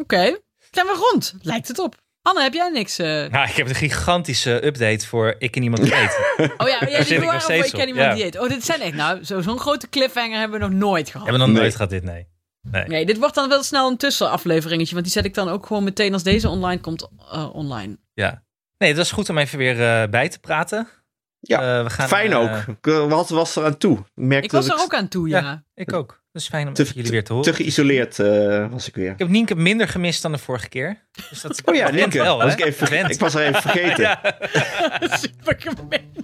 Oké, zijn we rond? Lijkt het op. Anne, heb jij niks? eh? Nou, ik heb een gigantische update voor Ik en Iemand Weet. Oh ja, jij zit ik zit nog waar steeds ik ken op, iemand ja. die eet. Oh, dit zijn echt, nou, zo- zo'n grote cliffhanger hebben we nog nooit gehad. Hebben we nog Nee. nooit gehad dit? Nee. Nee. Nee, dit wordt dan wel snel een tussenafleveringetje, want die zet ik dan ook gewoon meteen als deze online komt eh, online. Ja. Nee, het was goed om even weer eh, bij te praten. Ja, Eh, we gaan, Fijn eh, ook. Ik, eh, Wat was er aan toe? Ik merkte Ik was dat er ook aan toe, ja. ik ook. Dat is fijn om Te- even jullie weer te horen. te geïsoleerd eh, was ik weer. Ik heb Nienke minder gemist dan de vorige keer. Dus dat Oh ja, dat Nienke. went wel, was hè? ik, even Dat verge- went. ik was er even vergeten. Super gemeen.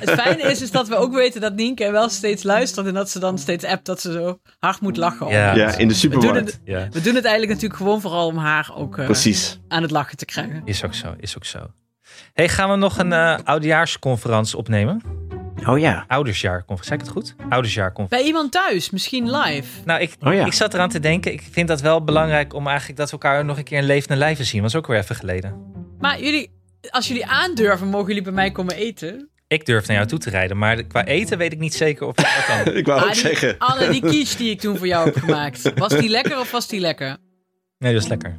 Het fijne is, is dat we ook weten dat Nienke wel steeds luistert en dat ze dan steeds appt dat ze zo hard moet lachen. om- Ja. Ja, in de We, doen supermarkt. het, Ja, we doen het eigenlijk natuurlijk gewoon vooral om haar ook eh, Precies. aan het lachen te krijgen. is ook zo, is ook zo. Hey, gaan we nog een eh, oudejaarsconferentie opnemen? Oh ja. Oudersjaarconferentie, zei ik het goed? Oudersjaarconferentie. Bij iemand thuis, misschien live. Nou, ik, Oh ja. ik zat eraan te denken. Ik vind dat wel belangrijk om eigenlijk dat we elkaar nog een keer in levende lijven zien. Was ook weer even geleden. Maar jullie, als jullie aandurven, mogen jullie bij mij komen eten. Ik durf naar jou toe te rijden, maar qua eten weet ik niet zeker of ik dat kan. Oh, Ik wou Ah, ook die- zeggen. Anne, die quiche die ik toen voor jou heb gemaakt. Was die lekker of was die lekker? Nee, dat is lekker. Ja,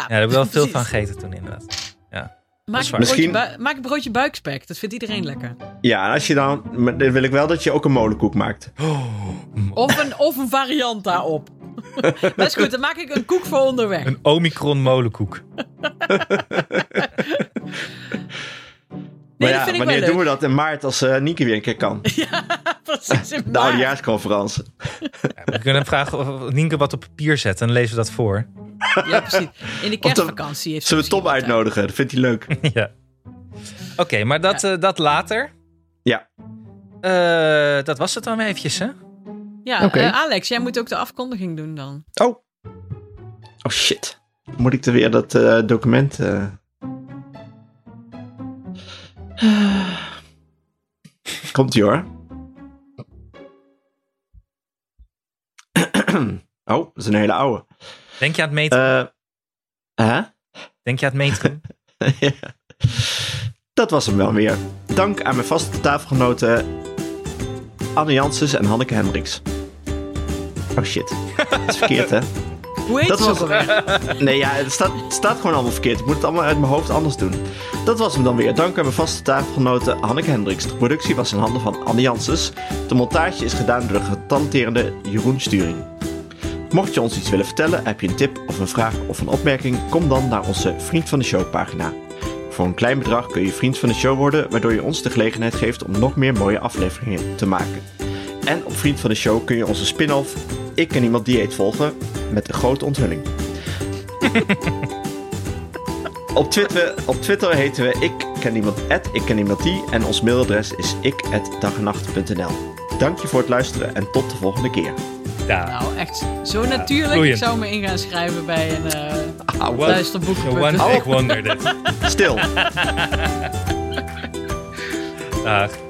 Ja, daar heb ik wel veel precies. van gegeten toen inderdaad. Ja. Maak is een, waar. Mm. broodje, Misschien- bui- maak een broodje buikspek. Dat vindt iedereen lekker. Ja, en als je dan... maar Dan wil ik wel dat je ook een molenkoek maakt. Of een, of een variant daarop. Best goed, dan maak ik een koek voor onderweg. Een Omicron molenkoek. Nee, maar ja, dat vind ik wel wanneer doen we leuk. dat? In maart als eh Nienke weer een keer kan. Precies De in maart. oudejaarsconferentie. Ja, we kunnen hem vragen of of Nienke wat op papier zet en dan lezen we dat voor. Ja, precies. In dan- de kerstvakantie heeft ze Zullen we Tom misschien wat tijd. uitnodigen? Dat vindt hij leuk. ja. Oké, maar dat, eh, dat later. Ja. Eh, dat was het dan weer eventjes, hè? Ja, Oké. eh, Alex, jij moet ook de afkondiging doen dan. Oh. Oh shit. Moet ik er weer dat eh, document. eh? Komt ie hoor. Oh, dat is een hele oude. Denk je aan het meten? Eh. hè? Denk je aan het metrum? Ja. Dat was hem wel weer. Dank aan mijn vaste tafelgenoten Anne Janssens en Hanneke Hendricks. Oh shit, dat is verkeerd hè? Hoe heet Dat ze was- ook alweer? Nee, ja, het staat, het staat gewoon allemaal verkeerd. Ik moet het allemaal uit mijn hoofd anders doen. Dat was hem dan weer. Dank aan mijn vaste tafelgenoten Hanneke Hendricks. De productie was in handen van Anne Janssens. De montage is gedaan door de getanteerde Jeroen Sturing. Mocht je ons iets willen vertellen, heb je een tip of een vraag of een opmerking, kom dan naar onze Vriend van de Show pagina. Voor een klein bedrag kun je Vriend van de Show worden, waardoor je ons de gelegenheid geeft om nog meer mooie afleveringen te maken. En op Vriend van de Show kun je onze spin-off Ik en Iemand Dieet volgen met een grote onthulling. Op Twitter, op Twitter heten we ik ken iemand at, ik ken iemand die en ons mailadres is ik Dank je voor het luisteren en tot de volgende keer. Daar. Nou, echt zo natuurlijk. vloeiend. Ik zou me in gaan schrijven bij een eh luisterboek. The one take wonder. dit. Stil. Dag.